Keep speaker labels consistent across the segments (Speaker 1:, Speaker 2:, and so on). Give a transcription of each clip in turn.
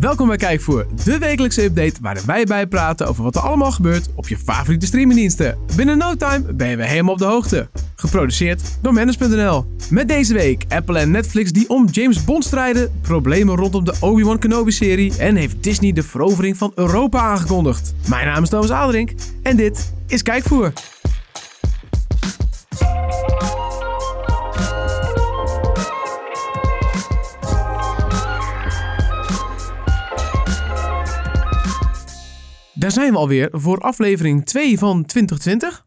Speaker 1: Welkom bij Kijkvoer, de wekelijkse update waarin wij bijpraten over wat er allemaal gebeurt op je favoriete streamingdiensten. Binnen no time ben je weer helemaal op de hoogte. Geproduceerd door Manus.nl. Met deze week Apple en Netflix die om James Bond strijden, problemen rondom de Obi-Wan Kenobi-serie en heeft Disney de verovering van Europa aangekondigd. Mijn naam is Thomas Aderink en dit is Kijkvoer. Daar zijn we alweer voor aflevering 2 van 2020.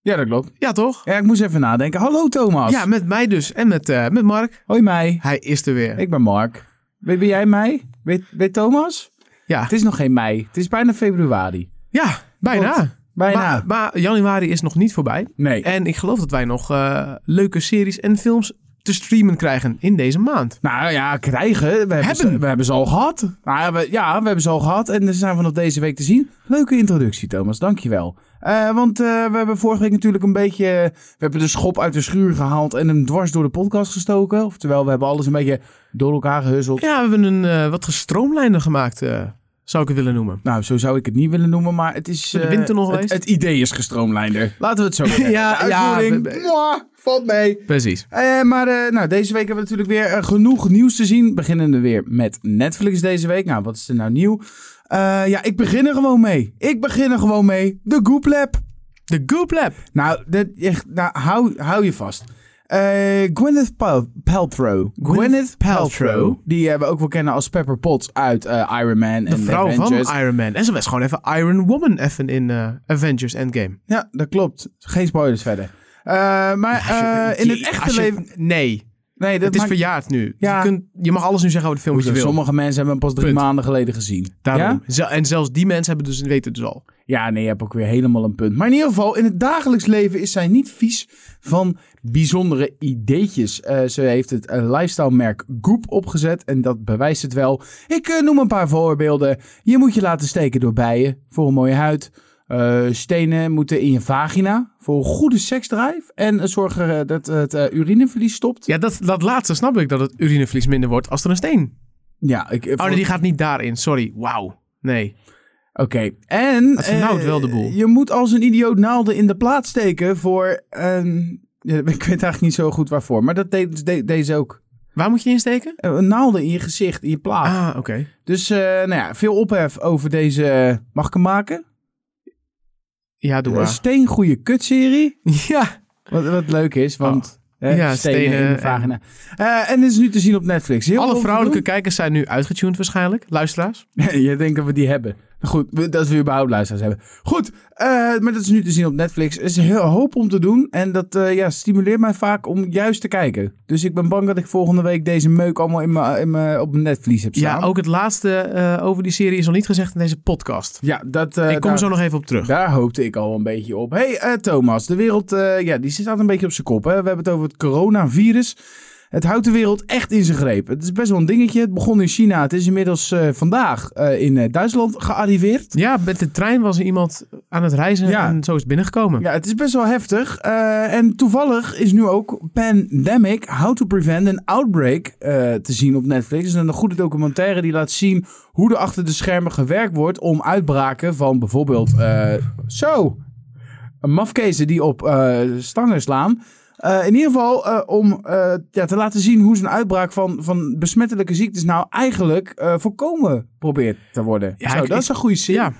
Speaker 2: Ja, dat klopt.
Speaker 1: Ja, toch?
Speaker 2: Ja, ik moest even nadenken. Hallo Thomas.
Speaker 1: Ja, met mij dus en met, eh, met Mark.
Speaker 2: Hoi mij.
Speaker 1: Hij is er weer.
Speaker 2: Ik ben Mark. Ben, ben jij mij? Ben, ben Thomas?
Speaker 1: Ja.
Speaker 2: Het is nog geen mei. Het is bijna februari.
Speaker 1: Ja, bijna.
Speaker 2: Klopt. Bijna.
Speaker 1: Maar, maar januari is nog niet voorbij.
Speaker 2: nee.
Speaker 1: En ik geloof dat wij nog eh, leuke series en films te streamen krijgen in deze maand.
Speaker 2: Nou ja, krijgen. We hebben, Ze,
Speaker 1: Hebben.
Speaker 2: we hebben ze al gehad. Nou, we, ja, we hebben ze al gehad. En ze zijn vanaf deze week te zien. Leuke introductie, Thomas. Dankjewel. Eh want eh, we hebben vorige week natuurlijk een beetje... We hebben de schop uit de schuur gehaald en hem dwars door de podcast gestoken. Oftewel, we hebben alles een beetje door elkaar gehuzzeld.
Speaker 1: Ja, we hebben een eh, wat gestroomlijnder gemaakt, eh, zou ik het willen noemen.
Speaker 2: Nou, zo zou ik het niet willen noemen, maar het is...
Speaker 1: de
Speaker 2: eh,
Speaker 1: winter nog
Speaker 2: het-
Speaker 1: geweest?
Speaker 2: Het, idee is gestroomlijnder. Laten we het zo zeggen.
Speaker 1: Ja,
Speaker 2: De
Speaker 1: ja,
Speaker 2: uitvoering,
Speaker 1: we- we-
Speaker 2: mwah, valt mee.
Speaker 1: Precies.
Speaker 2: Eh, maar eh, nou, deze week hebben we natuurlijk weer eh, genoeg nieuws te zien. Beginnen we weer met Netflix deze week. Nou, wat is er nou nieuw? Eh, ja, ik begin er gewoon mee. Ik begin er gewoon mee. De Goop Lab.
Speaker 1: De Goop Lab.
Speaker 2: Nou, dat, echt, nou hou, hou je vast. Eh, Gwyneth Pal- Paltrow.
Speaker 1: Gwyneth Paltrow.
Speaker 2: Die eh, we ook wel kennen als Pepper Potts uit eh, Iron Man
Speaker 1: De
Speaker 2: en
Speaker 1: vrouw
Speaker 2: Avengers.
Speaker 1: van Iron Man. En ze was gewoon even Iron Woman even in eh, Avengers Endgame.
Speaker 2: Ja, dat klopt. Geen spoilers verder. Eh, maar eh, in het echte
Speaker 1: Als je-
Speaker 2: leven...
Speaker 1: Nee,
Speaker 2: Nee, dat
Speaker 1: het is
Speaker 2: maakt-
Speaker 1: verjaard nu.
Speaker 2: Ja.
Speaker 1: Je, kunt, je mag alles nu zeggen over de film wat je
Speaker 2: Hoezo?
Speaker 1: wil.
Speaker 2: Sommige mensen hebben hem pas drie
Speaker 1: Punt.
Speaker 2: maanden geleden gezien.
Speaker 1: Daarom.
Speaker 2: Ja?
Speaker 1: Ze- En zelfs die mensen hebben dus, weten het dus al.
Speaker 2: ja, nee, je hebt ook weer helemaal een punt. Maar in ieder geval, in het dagelijks leven is zij niet vies van bijzondere ideetjes. Eh, ze heeft het eh, lifestyle-merk Goop opgezet en dat bewijst het wel. Ik eh, noem een paar voorbeelden. Je moet je laten steken door bijen voor een mooie huid. Eh, stenen moeten in je vagina voor een goede seksdrive. En eh, zorgen eh, dat het eh, urineverlies stopt.
Speaker 1: Ja, dat, dat laatste snap ik, dat het urineverlies minder wordt als er een steen.
Speaker 2: Ja, ik, eh,
Speaker 1: Oh nee, die gaat niet daarin. Sorry. Wauw. Nee.
Speaker 2: Oké, en...
Speaker 1: nou Het vernauwt
Speaker 2: eh,
Speaker 1: wel de boel.
Speaker 2: Je moet als een idioot naalden in de plaats steken voor... ehm, ja, ik weet eigenlijk niet zo goed waarvoor, maar dat deed de- deze ook.
Speaker 1: Waar moet je die insteken?
Speaker 2: Eh, naalden in je gezicht, in je plaat.
Speaker 1: Ah, oké.
Speaker 2: Dus eh, nou ja, veel ophef over deze... eh, mag ik hem maken?
Speaker 1: Ja, doe
Speaker 2: Een
Speaker 1: maar.
Speaker 2: steengoeie kutserie.
Speaker 1: Ja.
Speaker 2: Wat, wat leuk is, want... eh,
Speaker 1: Oh. Ja,
Speaker 2: stenen, in
Speaker 1: stenen
Speaker 2: de vagina. Eh, en is nu te zien op Netflix. Heel veel
Speaker 1: Alle
Speaker 2: te
Speaker 1: vrouwelijke kijkers zijn nu uitgetuned waarschijnlijk. Luisteraars.
Speaker 2: Je denkt dat we die hebben. Nou Goed, we- dat we überhaupt luisteraars hebben. Goed, eh, maar dat is nu te zien op Netflix. Er is een heel hoop om te doen. En dat eh, ja, stimuleert mij vaak om juist te kijken. Dus ik ben bang dat ik volgende week deze meuk allemaal in mijn- in mijn- op mijn netvlies heb
Speaker 1: Ja, oh.
Speaker 2: staan.
Speaker 1: ook het laatste eh, over die serie is nog niet gezegd in deze podcast.
Speaker 2: Ja, dat, eh,
Speaker 1: ik kom
Speaker 2: daar,
Speaker 1: zo nog even op terug.
Speaker 2: daar hoopte ik al een beetje op. hey, eh, Thomas, de wereld eh, ja, die staat een beetje op zijn kop. Hè? We hebben het over het coronavirus. Het houdt de wereld echt in zijn greep. Het is best wel een dingetje. Het begon in China. Het is inmiddels eh, vandaag eh, in eh, Duitsland gearriveerd.
Speaker 1: Ja, met de trein was er iemand aan het reizen
Speaker 2: Ja.
Speaker 1: en zo is het binnengekomen.
Speaker 2: Ja, het is best wel heftig. Eh, en toevallig is nu ook Pandemic, How to Prevent an Outbreak eh, te zien op Netflix. Het is een goede documentaire die laat zien hoe er achter de schermen gewerkt wordt om uitbraken van bijvoorbeeld... eh, zo, een mafkezen die op eh, stangen slaan. Eh, in ieder geval eh, om eh, ja, te laten zien hoe zo'n uitbraak van, van besmettelijke ziektes nou eigenlijk eh, voorkomen probeert te worden.
Speaker 1: Ja,
Speaker 2: Zo,
Speaker 1: ik-
Speaker 2: dat
Speaker 1: ik-
Speaker 2: is een goede zin.
Speaker 1: Ja.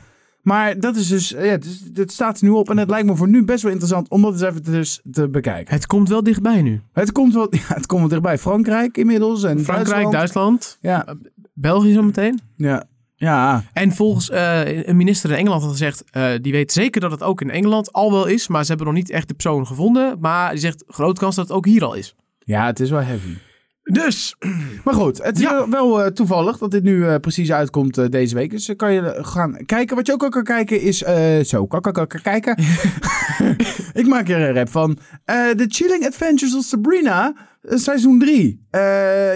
Speaker 2: Maar dat is dus, eh, ja, dus, dat staat er nu op en het lijkt me voor nu best wel interessant om dat eens even te, dus te bekijken.
Speaker 1: Het komt wel dichtbij nu.
Speaker 2: Het komt wel, ja, het komt wel dichtbij. Frankrijk inmiddels en
Speaker 1: Frankrijk, Duitsland,
Speaker 2: Ja,
Speaker 1: België zometeen.
Speaker 2: ja, ja.
Speaker 1: En volgens eh, een minister in Engeland had gezegd, eh, die weet zeker dat het ook in Engeland al wel is, maar ze hebben nog niet echt de persoon gevonden. Maar die zegt, grote kans dat het ook hier al is.
Speaker 2: ja, het is wel heavy.
Speaker 1: Dus,
Speaker 2: Maar goed, het is
Speaker 1: Ja.
Speaker 2: wel, wel, eh, toevallig dat dit nu eh, precies uitkomt eh, deze week. Dus eh, kan je eh, gaan kijken. Wat je ook al kan kijken is... eh, zo, kan, kan, kan, kan kijken. Ik maak er een rap van. Eh, The Chilling Adventures of Sabrina, eh, seizoen 3.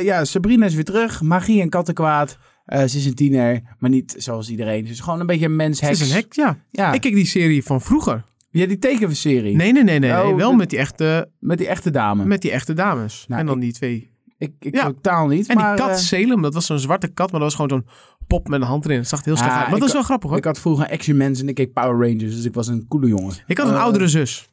Speaker 2: ja, Sabrina is weer terug. Magie en kattenkwaad. Eh, ze is een tiener, maar niet zoals iedereen. Ze is gewoon een beetje een mens
Speaker 1: het is een hek, ja.
Speaker 2: Ja.
Speaker 1: Ik keek die serie van vroeger.
Speaker 2: ja, die tekenserie.
Speaker 1: Nee, nee, nee, nee. nee.
Speaker 2: Oh,
Speaker 1: wel
Speaker 2: dat-
Speaker 1: met die, echte,
Speaker 2: Met die echte dame.
Speaker 1: met die echte dames.
Speaker 2: Nou,
Speaker 1: en dan die twee
Speaker 2: Ik, ik
Speaker 1: Ja.
Speaker 2: totaal niet.
Speaker 1: En
Speaker 2: maar,
Speaker 1: die kat
Speaker 2: eh,
Speaker 1: Salem, dat was zo'n zwarte kat, maar dat was gewoon zo'n pop met een hand erin. Het zag er heel slecht
Speaker 2: Ah,
Speaker 1: uit. Maar dat
Speaker 2: ik-
Speaker 1: is wel grappig hoor.
Speaker 2: ik had vroeger Action Mens en ik keek Power Rangers, dus ik was een coole jongen.
Speaker 1: Ik had een
Speaker 2: Eh,
Speaker 1: oudere zus.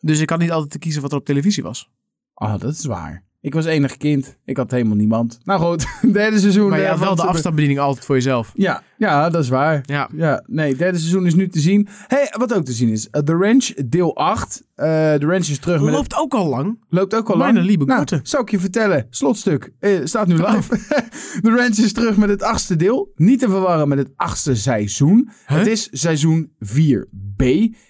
Speaker 1: Dus ik had niet altijd te kiezen wat er op televisie was.
Speaker 2: Ah, dat is waar. Ik was enig kind. Ik had helemaal niemand. Nou goed, derde seizoen.
Speaker 1: Maar je
Speaker 2: eh,
Speaker 1: had wel
Speaker 2: van
Speaker 1: de
Speaker 2: Super-
Speaker 1: afstandsbediening altijd voor jezelf.
Speaker 2: Ja, ja, dat is waar.
Speaker 1: Ja.
Speaker 2: Ja, nee, derde seizoen is nu te zien. hey, wat ook te zien is, eh, The Ranch, deel 8. Eh The Ranch is terug met...
Speaker 1: Loopt ook al lang.
Speaker 2: Loopt ook al
Speaker 1: Mijn
Speaker 2: lang.
Speaker 1: lieve
Speaker 2: nou,
Speaker 1: goede.
Speaker 2: zou ik je vertellen. Slotstuk. eh, staat nu live.
Speaker 1: Oh.
Speaker 2: The Ranch is terug met het achtste deel. Niet te verwarren met het achtste seizoen.
Speaker 1: Huh?
Speaker 2: Het is seizoen 4b.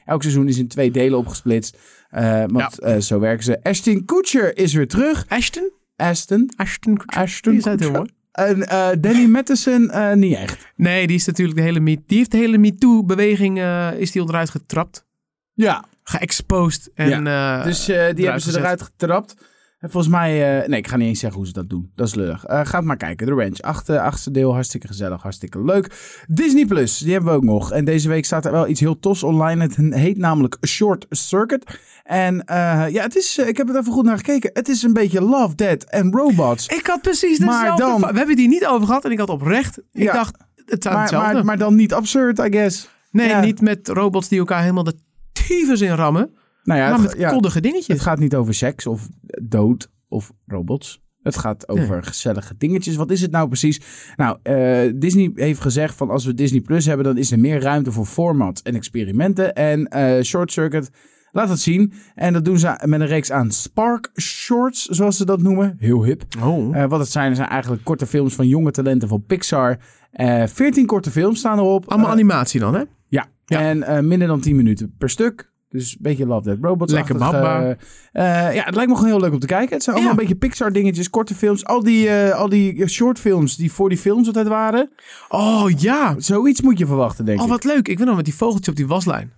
Speaker 2: Elk seizoen is in twee delen opgesplitst. Eh, want eh, zo werken ze. Ashton Kutcher is weer terug.
Speaker 1: Ashton?
Speaker 2: Ashton.
Speaker 1: Ashton Kutcher.
Speaker 2: Ashton
Speaker 1: Die is uit heel
Speaker 2: Kutcher.
Speaker 1: mooi.
Speaker 2: En eh, Danny Matheson eh, niet echt.
Speaker 1: Nee, die is natuurlijk de hele Me, die heeft de hele MeToo-beweging eh, is die onderuit getrapt.
Speaker 2: Ja,
Speaker 1: Geëxposed. En, eh,
Speaker 2: dus eh, die hebben ze
Speaker 1: gezet.
Speaker 2: eruit getrapt. En volgens mij... eh, nee, ik ga niet eens zeggen hoe ze dat doen. Dat is lullig. Eh, ga het maar kijken. The Ranch. Achtste, achtste deel. Hartstikke gezellig. Hartstikke leuk. Disney Plus. Die hebben we ook nog. En deze week staat er wel iets heel tofs online. Het heet namelijk Short Circuit. En eh, ja, het is, eh, ik heb het even goed naar gekeken. Het is een beetje Love, Dead en Robots.
Speaker 1: Ik had precies
Speaker 2: Maar
Speaker 1: dezelfde...
Speaker 2: dan-
Speaker 1: va- We hebben het hier niet over gehad en ik had oprecht... Ik
Speaker 2: Ja.
Speaker 1: dacht, het zou
Speaker 2: Maar,
Speaker 1: hetzelfde.
Speaker 2: maar, maar dan niet absurd, I guess.
Speaker 1: nee,
Speaker 2: ja.
Speaker 1: niet met robots die elkaar helemaal de tyfus in rammen.
Speaker 2: Nou ja,
Speaker 1: maar
Speaker 2: het-
Speaker 1: met
Speaker 2: ja.
Speaker 1: koddige dingetjes.
Speaker 2: Het gaat niet over seks of dood of robots. Het gaat over gezellige dingetjes. Wat is het nou precies? Nou, eh, Disney heeft gezegd van als we Disney Plus hebben, dan is er meer ruimte voor formats en experimenten. En eh, Short Circuit laat dat zien. En dat doen ze met een reeks aan Spark Shorts, zoals ze dat noemen. Heel hip.
Speaker 1: Oh.
Speaker 2: Eh, wat het zijn, zijn eigenlijk korte films van jonge talenten van Pixar. Eh 14 korte films staan erop.
Speaker 1: Allemaal
Speaker 2: Eh,
Speaker 1: animatie dan, hè?
Speaker 2: ja,
Speaker 1: Ja.
Speaker 2: en eh, minder dan 10 minuten per stuk. Dus een beetje Love That Robots.
Speaker 1: Lekker babba.
Speaker 2: eh, ja, het lijkt me gewoon heel leuk om te kijken. Het zijn allemaal
Speaker 1: Ja.
Speaker 2: een beetje Pixar dingetjes, korte films. Al die, eh, al die shortfilms die voor die films altijd waren.
Speaker 1: Oh ja.
Speaker 2: Zoiets moet je verwachten, denk
Speaker 1: Oh,
Speaker 2: ik.
Speaker 1: wat leuk. Ik ben nog met die vogeltje op die waslijn.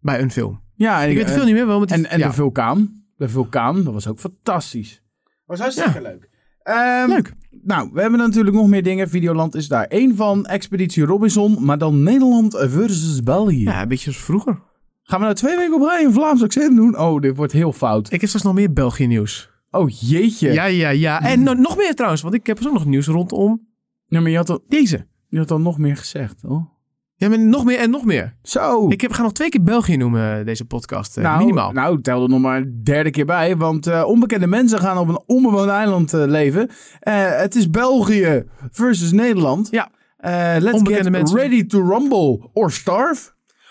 Speaker 1: Bij een film.
Speaker 2: Ja, en,
Speaker 1: Ik weet
Speaker 2: eh,
Speaker 1: het veel niet meer. Wel met die,
Speaker 2: en, en
Speaker 1: ja.
Speaker 2: de vulkaan. De vulkaan, dat was ook fantastisch. Was hartstikke leuk. Ehm,
Speaker 1: Leuk.
Speaker 2: Nou, we hebben natuurlijk nog meer dingen. Videoland is daar één van. Expeditie Robinson, maar dan Nederland versus België.
Speaker 1: Ja, een beetje als vroeger.
Speaker 2: Gaan we nou twee weken op rij een Vlaams accent doen? Oh, dit wordt heel fout.
Speaker 1: Ik heb straks nog meer België nieuws.
Speaker 2: Oh jeetje.
Speaker 1: Ja, ja,
Speaker 2: Mm.
Speaker 1: ja. En no- nog meer trouwens, want ik heb zo nog nieuws rondom
Speaker 2: Nee, maar je had, al,
Speaker 1: deze.
Speaker 2: je had al nog meer gezegd, hoor.
Speaker 1: Ja, maar nog meer en nog meer.
Speaker 2: Zo.
Speaker 1: Ik heb, ga nog twee keer België noemen, deze podcast. eh,
Speaker 2: nou,
Speaker 1: minimaal.
Speaker 2: Nou, tel er nog maar een derde keer bij. Want eh, onbekende mensen gaan op een onbewoond eiland eh, leven. Eh, het is België versus Nederland.
Speaker 1: ja.
Speaker 2: Eh, let's
Speaker 1: Onbekende
Speaker 2: get
Speaker 1: mensen.
Speaker 2: ready to rumble or starve.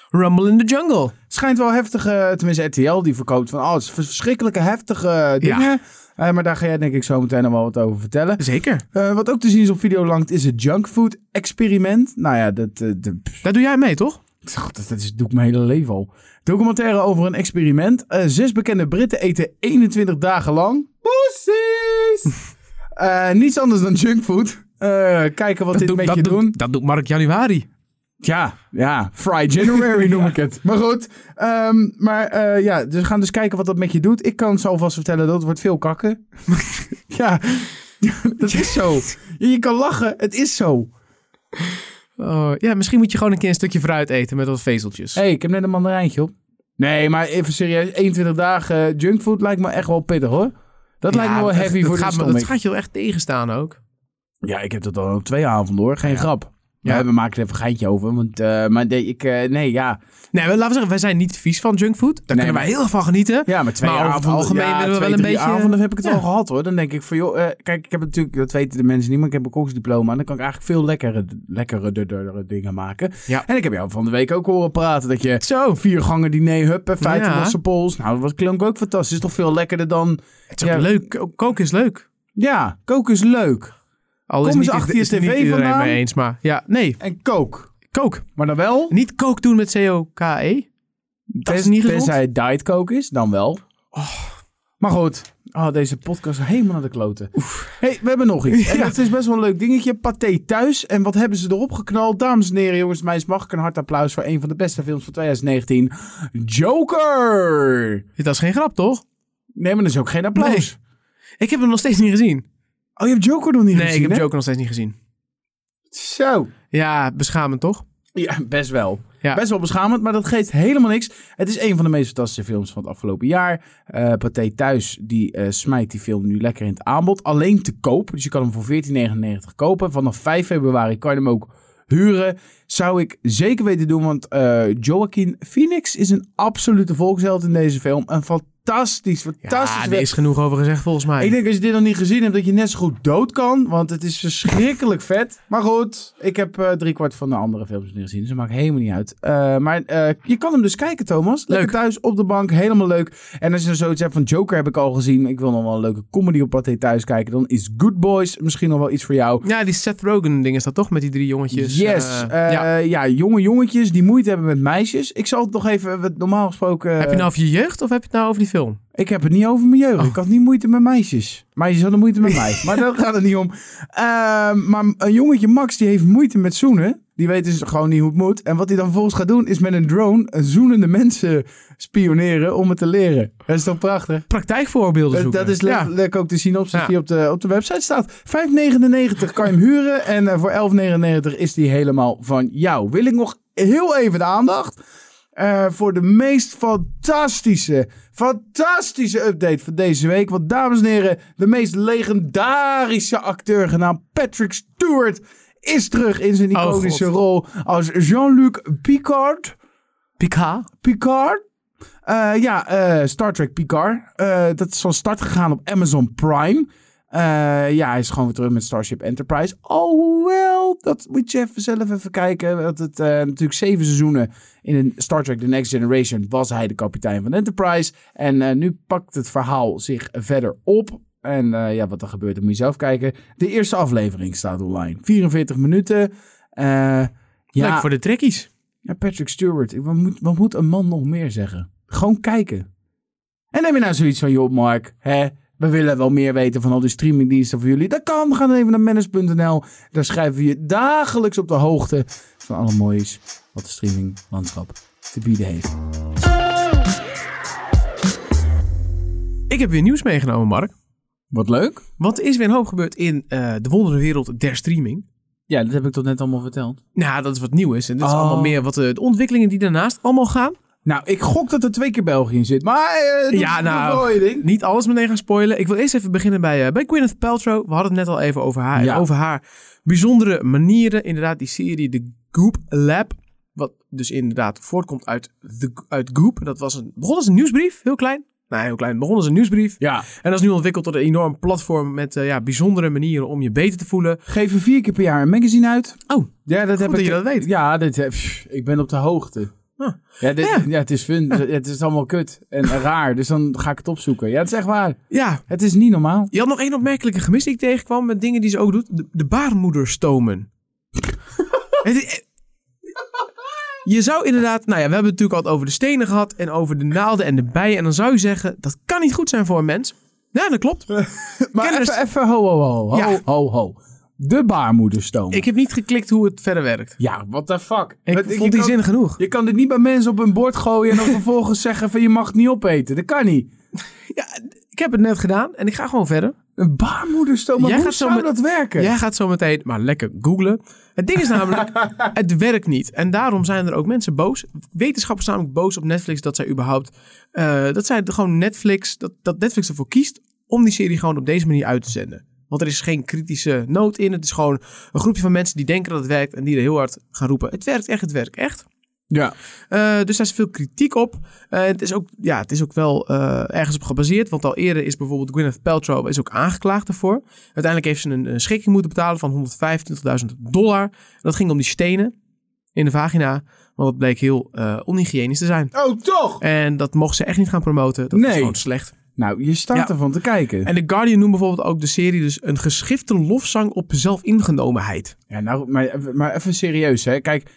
Speaker 1: Rumble in the Jungle.
Speaker 2: Schijnt wel heftige, tenminste RTL die verkoopt van, oh, het is verschrikkelijke heftige dingen. Eh, maar daar ga jij denk ik zo meteen nog wel wat over vertellen.
Speaker 1: Zeker.
Speaker 2: Eh, wat ook te zien is op Videoland is het junkfood experiment. Nou ja, dat, eh, de,
Speaker 1: Daar doe jij mee, toch?
Speaker 2: Tch, Dat, dat is, doe ik mijn hele leven al. Documentaire over een experiment. Eh, zes bekende Britten eten 21 dagen lang. Poesies! Eh, niets anders dan junkfood. Eh, kijken wat dit
Speaker 1: doe-
Speaker 2: met
Speaker 1: dat,
Speaker 2: je
Speaker 1: doe-
Speaker 2: doen.
Speaker 1: dat doet Mark Januari.
Speaker 2: Ja, ja. Fry January noem ik het. Maar goed. ehm, maar eh, ja, dus we gaan dus kijken wat dat met je doet. Ik kan zo alvast vertellen dat het wordt veel kakken. ja, dat is zo. Je kan lachen, het is zo.
Speaker 1: Oh, ja, misschien moet je gewoon een keer een stukje fruit eten met wat vezeltjes.
Speaker 2: Hé, hey, ik heb net een mandarijntje op. Nee, maar even serieus. 21 dagen junkfood lijkt me echt wel pittig hoor. Dat lijkt me
Speaker 1: Ja,
Speaker 2: wel
Speaker 1: dat-
Speaker 2: heavy
Speaker 1: dat
Speaker 2: voor de
Speaker 1: gaat me-
Speaker 2: stomach.
Speaker 1: Dat gaat je wel echt tegenstaan ook.
Speaker 2: Ja, ik heb dat al twee avonden hoor. Geen grap. Ja.
Speaker 1: Ja.
Speaker 2: we maken er even een geintje over. Want, eh, maar nee, ik, eh, nee, ja.
Speaker 1: Nee, maar laten we zeggen, wij zijn niet vies van junkfood. Daar kunnen wij
Speaker 2: maar-
Speaker 1: heel erg van genieten.
Speaker 2: Ja, maar twee
Speaker 1: Maar over het
Speaker 2: avonden.
Speaker 1: algemeen
Speaker 2: ja,
Speaker 1: willen we
Speaker 2: twee,
Speaker 1: wel een
Speaker 2: drie
Speaker 1: beetje-
Speaker 2: avonden heb ik het
Speaker 1: Ja.
Speaker 2: al gehad hoor. Dan denk ik van joh, eh, kijk, ik heb natuurlijk, dat weten de mensen niet, maar ik heb een koksdiploma. En dan kan ik eigenlijk veel lekkere, lekkere, duurdere dingen maken.
Speaker 1: Ja.
Speaker 2: En ik heb jou van de week ook horen praten dat je
Speaker 1: Zo.
Speaker 2: vier gangen diner, hup, en feiten
Speaker 1: Ja.
Speaker 2: losse pols. Nou, dat klonk ook fantastisch. Is toch veel lekkerder dan
Speaker 1: Het is ook
Speaker 2: Ja.
Speaker 1: leuk. Ko- Koken is leuk.
Speaker 2: Ja, koken is leuk.
Speaker 1: Al is
Speaker 2: Kom eens
Speaker 1: niet,
Speaker 2: achter
Speaker 1: is-
Speaker 2: je
Speaker 1: is niet
Speaker 2: tv
Speaker 1: iedereen
Speaker 2: vandaan.
Speaker 1: mee eens, maar ja, nee.
Speaker 2: En kook.
Speaker 1: Kook.
Speaker 2: Maar dan wel.
Speaker 1: Niet kook doen met C-O-K-E. Dat is
Speaker 2: Ten-
Speaker 1: niet gezond. Oh.
Speaker 2: Tenzij het diet coke is, dan wel. Maar goed. Oh, deze podcast is helemaal naar de kloten. hey, we hebben nog iets. En
Speaker 1: Ja.
Speaker 2: dat is best wel een leuk dingetje. Pathé thuis. En wat hebben ze erop geknald? Dames en heren, jongens, meisjes, mag ik een hard applaus voor een van de beste films van 2019. Joker!
Speaker 1: Dat is geen grap, toch?
Speaker 2: Nee, maar dat is ook geen applaus.
Speaker 1: Ik heb hem nog steeds niet gezien.
Speaker 2: Oh, je hebt Joker nog niet
Speaker 1: Nee,
Speaker 2: gezien,
Speaker 1: ik heb
Speaker 2: hè?
Speaker 1: Joker nog steeds niet gezien.
Speaker 2: Zo.
Speaker 1: Ja, beschamend, toch?
Speaker 2: Ja, best wel.
Speaker 1: Ja.
Speaker 2: Best wel beschamend, maar dat geeft helemaal niks. Het is een van de meest fantastische films van het afgelopen jaar. Eh Pathé Thuis, die eh, smijt die film nu lekker in het aanbod. Alleen te koop, dus je kan hem voor 14,99 kopen. Vanaf 5 februari kan je hem ook huren. Zou ik zeker weten doen, want eh Joaquin Phoenix is een absolute volksheld in deze film. Een fantastisch, fantastisch
Speaker 1: Ja,
Speaker 2: werk.
Speaker 1: er is genoeg over gezegd volgens mij.
Speaker 2: Ik denk als je dit nog niet gezien hebt, dat je net zo goed dood kan. Want het is verschrikkelijk vet. Maar goed, ik heb eh driekwart van de andere films niet gezien. Dus dat maakt helemaal niet uit. Eh, maar eh, je kan hem dus kijken, Thomas. Lekker thuis, op de bank. Helemaal leuk. En als je nou zoiets hebt van Joker heb ik al gezien. Ik wil nog wel een leuke comedy op Pathé thuis kijken. Dan is Good Boys misschien nog wel iets voor jou.
Speaker 1: Ja, die Seth Rogen ding is dat toch met die drie jongetjes?
Speaker 2: yes.
Speaker 1: eh,
Speaker 2: Eh,
Speaker 1: ja.
Speaker 2: ja. jonge jongetjes die moeite hebben met meisjes. Ik zal het nog even, wat normaal gesproken...
Speaker 1: Heb je nou over je jeugd of heb je het nou over die film?
Speaker 2: Ik heb het niet over mijn jeugd. Ik had niet moeite met meisjes. Meisjes hadden moeite met mij. Maar daar gaat het niet om. Ehm, maar een jongetje, Max, die heeft moeite met zoenen. Die weet dus gewoon niet hoe het moet. En wat hij dan vervolgens gaat doen, is met een drone een zoenende mensen spioneren om het te leren. Dat is toch prachtig?
Speaker 1: Praktijkvoorbeelden
Speaker 2: Eh, Dat,
Speaker 1: zoeken.
Speaker 2: dat is le-
Speaker 1: ja.
Speaker 2: lekker ook de synopsis
Speaker 1: Ja.
Speaker 2: die op de, op de website staat. 5,99 kan je hem huren. En eh, voor 11,99 is die helemaal van jou. Wil ik nog heel even de aandacht eh, voor de meest fantastische, fantastische update van deze week. Want dames en heren, de meest legendarische acteur genaamd Patrick Stewart is terug in zijn
Speaker 1: Oh,
Speaker 2: iconische
Speaker 1: God.
Speaker 2: rol als Jean-Luc Picard.
Speaker 1: Picard?
Speaker 2: Picard. Eh, ja, eh, Star Trek Picard. Eh, dat is van start gegaan op Amazon Prime. Eh, ja, hij is gewoon weer terug met Starship Enterprise. Alhoewel, dat moet je even zelf even kijken. Want het, eh, natuurlijk zeven seizoenen in een Star Trek The Next Generation was hij de kapitein van Enterprise. En eh, nu pakt het verhaal zich verder op. En eh, ja, wat er gebeurt, dat moet je zelf kijken. De eerste aflevering staat online. 44 minuten. Eh, ja,
Speaker 1: Leuk voor de trekkies.
Speaker 2: ja, Patrick Stewart. Ik- Wat moet, wat moet een man nog meer zeggen? Gewoon kijken. En heb je nou zoiets van, joh Mark, hè? we willen wel meer weten van al die streamingdiensten van jullie. Dat kan, ga dan even naar manage.nl. Daar schrijven we je dagelijks op de hoogte van alle moois wat de streaminglandschap te bieden heeft.
Speaker 1: Ik heb weer nieuws meegenomen, Mark.
Speaker 2: Wat leuk.
Speaker 1: Want er is weer een hoop gebeurd in eh, de wondere wereld der streaming.
Speaker 2: Ja, dat heb ik tot net allemaal verteld.
Speaker 1: Nou, dat is wat nieuw is. En dit is
Speaker 2: Oh.
Speaker 1: allemaal meer wat eh, de ontwikkelingen die daarnaast allemaal gaan.
Speaker 2: Nou, ik gok dat er twee keer België in zit. Maar eh, doe-
Speaker 1: Ja,
Speaker 2: doe
Speaker 1: nou.
Speaker 2: wel je ding.
Speaker 1: Niet alles meteen gaan spoilen. Ik wil eerst even beginnen bij, eh, bij Gwyneth Paltrow. We hadden het net al even over haar.
Speaker 2: Ja.
Speaker 1: En over haar bijzondere manieren. Inderdaad, die serie The Goop Lab. Wat dus inderdaad voortkomt uit, the, uit Goop. Dat was een, begon als een nieuwsbrief, heel klein. Nou, heel klein. Begon als een nieuwsbrief.
Speaker 2: Ja,
Speaker 1: En dat is nu ontwikkeld tot een enorm platform met eh, ja, bijzondere manieren om je beter te voelen.
Speaker 2: geven vier keer per jaar een magazine uit.
Speaker 1: Oh,
Speaker 2: Ja, dat heb
Speaker 1: dat
Speaker 2: ik.
Speaker 1: je dat weet.
Speaker 2: Ja, dit heb, pff, ik ben op de hoogte.
Speaker 1: Ah.
Speaker 2: Ja, dit, ja.
Speaker 1: Ja. Ah.
Speaker 2: het is fun. Het is allemaal kut en raar. Dus dan ga ik het opzoeken. Ja, het is echt waar.
Speaker 1: ja.
Speaker 2: Het is niet normaal.
Speaker 1: Je had nog één opmerkelijke gemis die ik tegenkwam met dingen die ze ook doet. De, de baarmoederstomen. Het is- eh, je zou inderdaad, nou ja, we hebben het natuurlijk al het over de stenen gehad en over de naalden en de bijen. En dan zou je zeggen, dat kan niet goed zijn voor een mens. Ja, dat klopt.
Speaker 2: Maar
Speaker 1: Kenners-
Speaker 2: even, even ho, ho, ho. Ho,
Speaker 1: Ja.
Speaker 2: ho, ho. De baarmoederstoom.
Speaker 1: Ik heb niet geklikt hoe het verder werkt.
Speaker 2: Ja, what the fuck.
Speaker 1: Ik
Speaker 2: Want je
Speaker 1: vond die
Speaker 2: kan-
Speaker 1: zin genoeg.
Speaker 2: Je kan dit niet bij mensen op hun bord gooien en dan vervolgens zeggen van je mag het niet opeten. Dat kan niet.
Speaker 1: Ik heb het net gedaan en ik ga gewoon verder.
Speaker 2: Een baarmoederstoom, maar
Speaker 1: Jij
Speaker 2: hoe
Speaker 1: gaat zo
Speaker 2: zou
Speaker 1: met-
Speaker 2: dat werken?
Speaker 1: Jij gaat zo meteen maar lekker googlen. Het ding is namelijk, het werkt niet. En daarom zijn er ook mensen boos. Wetenschappers zijn namelijk boos op Netflix dat zij überhaupt... eh, dat zij de- gewoon Netflix, dat, dat Netflix ervoor kiest om die serie gewoon op deze manier uit te zenden. Want er is geen kritische noot in. Het is gewoon een groepje van mensen die denken dat het werkt en die er heel hard gaan roepen. Het werkt echt, het werkt echt.
Speaker 2: Ja.
Speaker 1: Eh, dus daar is veel kritiek op. Eh, het, is ook, ja, het is ook wel eh, ergens op gebaseerd. Want al eerder is bijvoorbeeld Gwyneth Paltrow is ook aangeklaagd daarvoor. Uiteindelijk heeft ze een, eh, schikking moeten betalen van 125.000 dollar. En dat ging om die stenen in de vagina. Want dat bleek heel eh onhygiënisch te zijn.
Speaker 2: Oh, toch?
Speaker 1: En dat mocht ze echt niet gaan promoten. Dat is
Speaker 2: Nee.
Speaker 1: gewoon slecht.
Speaker 2: Nou, je staat
Speaker 1: Ja.
Speaker 2: ervan te kijken.
Speaker 1: En The Guardian noemt bijvoorbeeld ook de serie dus een geschifte lofzang op zelfingenomenheid.
Speaker 2: Ja, nou, maar, even- maar even serieus, hè. Kijk,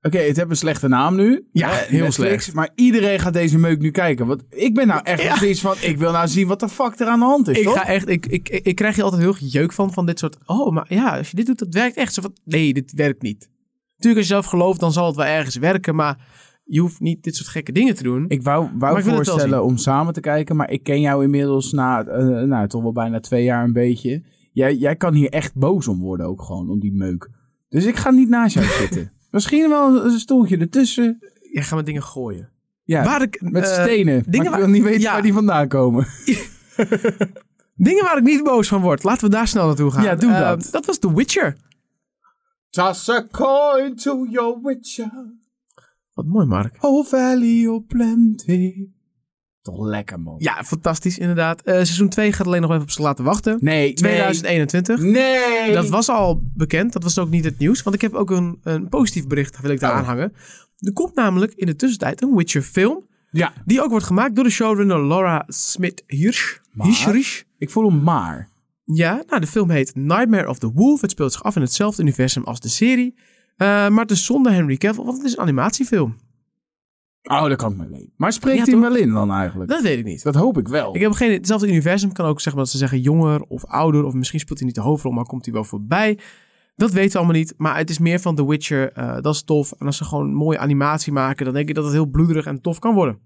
Speaker 2: oké, het heeft een slechte naam nu.
Speaker 1: Ja,
Speaker 2: Hè,
Speaker 1: heel slecht.
Speaker 2: Maar iedereen gaat deze meuk nu kijken. Want ik ben nou echt
Speaker 1: Ja.
Speaker 2: nog steeds van, ik wil nou zien wat de fuck er aan de hand is,
Speaker 1: Ik,
Speaker 2: toch?
Speaker 1: ga echt, ik, ik, ik, ik krijg hier altijd heel veel jeuk van, van dit soort... Oh, maar ja, als je dit doet, dat werkt echt. Zo van, nee, dit werkt niet. Natuurlijk, als je zelf gelooft, dan zal het wel ergens werken. Maar je hoeft niet dit soort gekke dingen te doen.
Speaker 2: Ik wou, wou
Speaker 1: Maar ik wil het wel
Speaker 2: voorstellen om samen te kijken, maar ik ken jou inmiddels na eh, nou, toch wel bijna twee jaar een beetje. Jij, jij kan hier echt boos om worden ook gewoon, om die meuk. Dus ik ga niet naast jou zitten. Misschien wel een stoeltje ertussen.
Speaker 1: Jij gaat met dingen gooien.
Speaker 2: Ja,
Speaker 1: Waar ik,
Speaker 2: met
Speaker 1: eh, dingen
Speaker 2: stenen. maar ik
Speaker 1: waar-
Speaker 2: wil niet weten
Speaker 1: ja.
Speaker 2: waar die vandaan komen.
Speaker 1: Dingen waar ik niet boos van word. Laten we daar snel naartoe gaan.
Speaker 2: Ja, doe
Speaker 1: Eh,
Speaker 2: dat.
Speaker 1: Dat was The Witcher.
Speaker 2: Toss a coin to your witcher.
Speaker 1: Wat mooi, Mark.
Speaker 2: Oh valley of plenty. Toch lekker, man.
Speaker 1: Ja, fantastisch inderdaad. Eh, seizoen 2 gaat alleen nog even op zich laten wachten.
Speaker 2: Nee,
Speaker 1: 2021.
Speaker 2: Nee. nee.
Speaker 1: Dat was al bekend. Dat was ook niet het nieuws. Want ik heb ook een, een positief bericht, wil ik daar
Speaker 2: Oh.
Speaker 1: aanhangen. Er komt namelijk in de tussentijd een Witcher film.
Speaker 2: Ja,
Speaker 1: Die ook wordt gemaakt door de showrunner Laura Smith-Hirsch.
Speaker 2: Maar-
Speaker 1: Hirsch?
Speaker 2: ik voel hem maar.
Speaker 1: Ja, nou de film heet Nightmare of the Wolf. Het speelt zich af in hetzelfde universum als de serie. Eh, maar het is zonder Henry Cavill, want het is een animatiefilm.
Speaker 2: Oh, dat kan ik me leven. Maar spreekt
Speaker 1: Ja,
Speaker 2: hij
Speaker 1: toch?
Speaker 2: hem wel in dan eigenlijk? Dat,
Speaker 1: Dat weet ik niet.
Speaker 2: hoop ik wel.
Speaker 1: Ik heb geen, hetzelfde universum kan ook zeggen dat ze zeggen jonger of ouder. Of misschien speelt hij niet de hoofdrol, maar komt hij wel voorbij. Dat weten we allemaal niet. Maar het is meer van The Witcher. eh, dat is tof. En als ze gewoon mooie animatie maken, dan denk ik dat het heel bloederig en tof kan worden.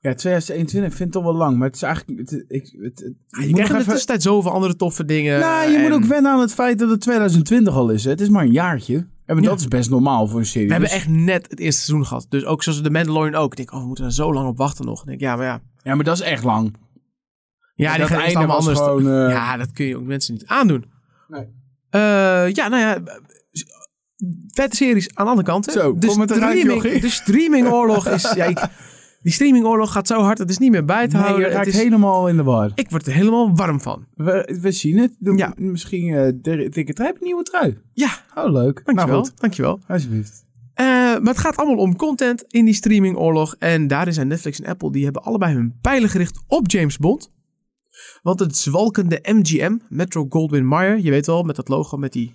Speaker 2: Ja, 2021 vind ik toch wel lang. Maar het is eigenlijk... Het, ik, het, het, ik
Speaker 1: Je krijgt
Speaker 2: moet
Speaker 1: in
Speaker 2: nog
Speaker 1: de
Speaker 2: even-
Speaker 1: tussentijd zoveel andere toffe dingen.
Speaker 2: Nou, je
Speaker 1: dus-
Speaker 2: moet
Speaker 1: en-
Speaker 2: ook wennen aan het feit dat het 2020 al is. Hè. Het is maar een jaartje. En
Speaker 1: Ja.
Speaker 2: dat is best normaal voor een serie.
Speaker 1: We hebben
Speaker 2: Dus-
Speaker 1: echt net het eerste seizoen gehad. Dus ook zoals de Mandalorian ook. Ik denk, oh, we moeten er zo lang op wachten nog. Ik denk, ja, maar ja.
Speaker 2: Ja, maar dat is echt lang.
Speaker 1: Ja, die
Speaker 2: dat
Speaker 1: gaan echt
Speaker 2: einde
Speaker 1: allemaal
Speaker 2: was
Speaker 1: anders.
Speaker 2: gewoon, eh,
Speaker 1: Ja, dat kun je ook mensen niet aandoen.
Speaker 2: Nee.
Speaker 1: Eh, ja, nou ja. Vette series aan alle kanten.
Speaker 2: Zo,
Speaker 1: de,
Speaker 2: kom met een
Speaker 1: streaming,
Speaker 2: raakjochie.
Speaker 1: de streamingoorlog is... Ja, ik- die streamingoorlog gaat zo hard, het is niet meer bij te
Speaker 2: Nee, je
Speaker 1: houden. Het
Speaker 2: Nou, raakt
Speaker 1: is-
Speaker 2: helemaal in de war.
Speaker 1: Ik word er helemaal warm van.
Speaker 2: We, we zien het. Doe
Speaker 1: Ja.
Speaker 2: Misschien eh de dikke trui, een nieuwe trui.
Speaker 1: Ja,
Speaker 2: Oh, leuk.
Speaker 1: dankjewel.
Speaker 2: Nou goed,
Speaker 1: dankjewel.
Speaker 2: alsjeblieft.
Speaker 1: Eh, maar het gaat allemaal om content in die streamingoorlog. En daarin zijn Netflix en Apple, die hebben allebei hun pijlen gericht op James Bond. Want het zwalkende MGM, Metro Goldwyn Mayer, je weet wel, met dat logo met die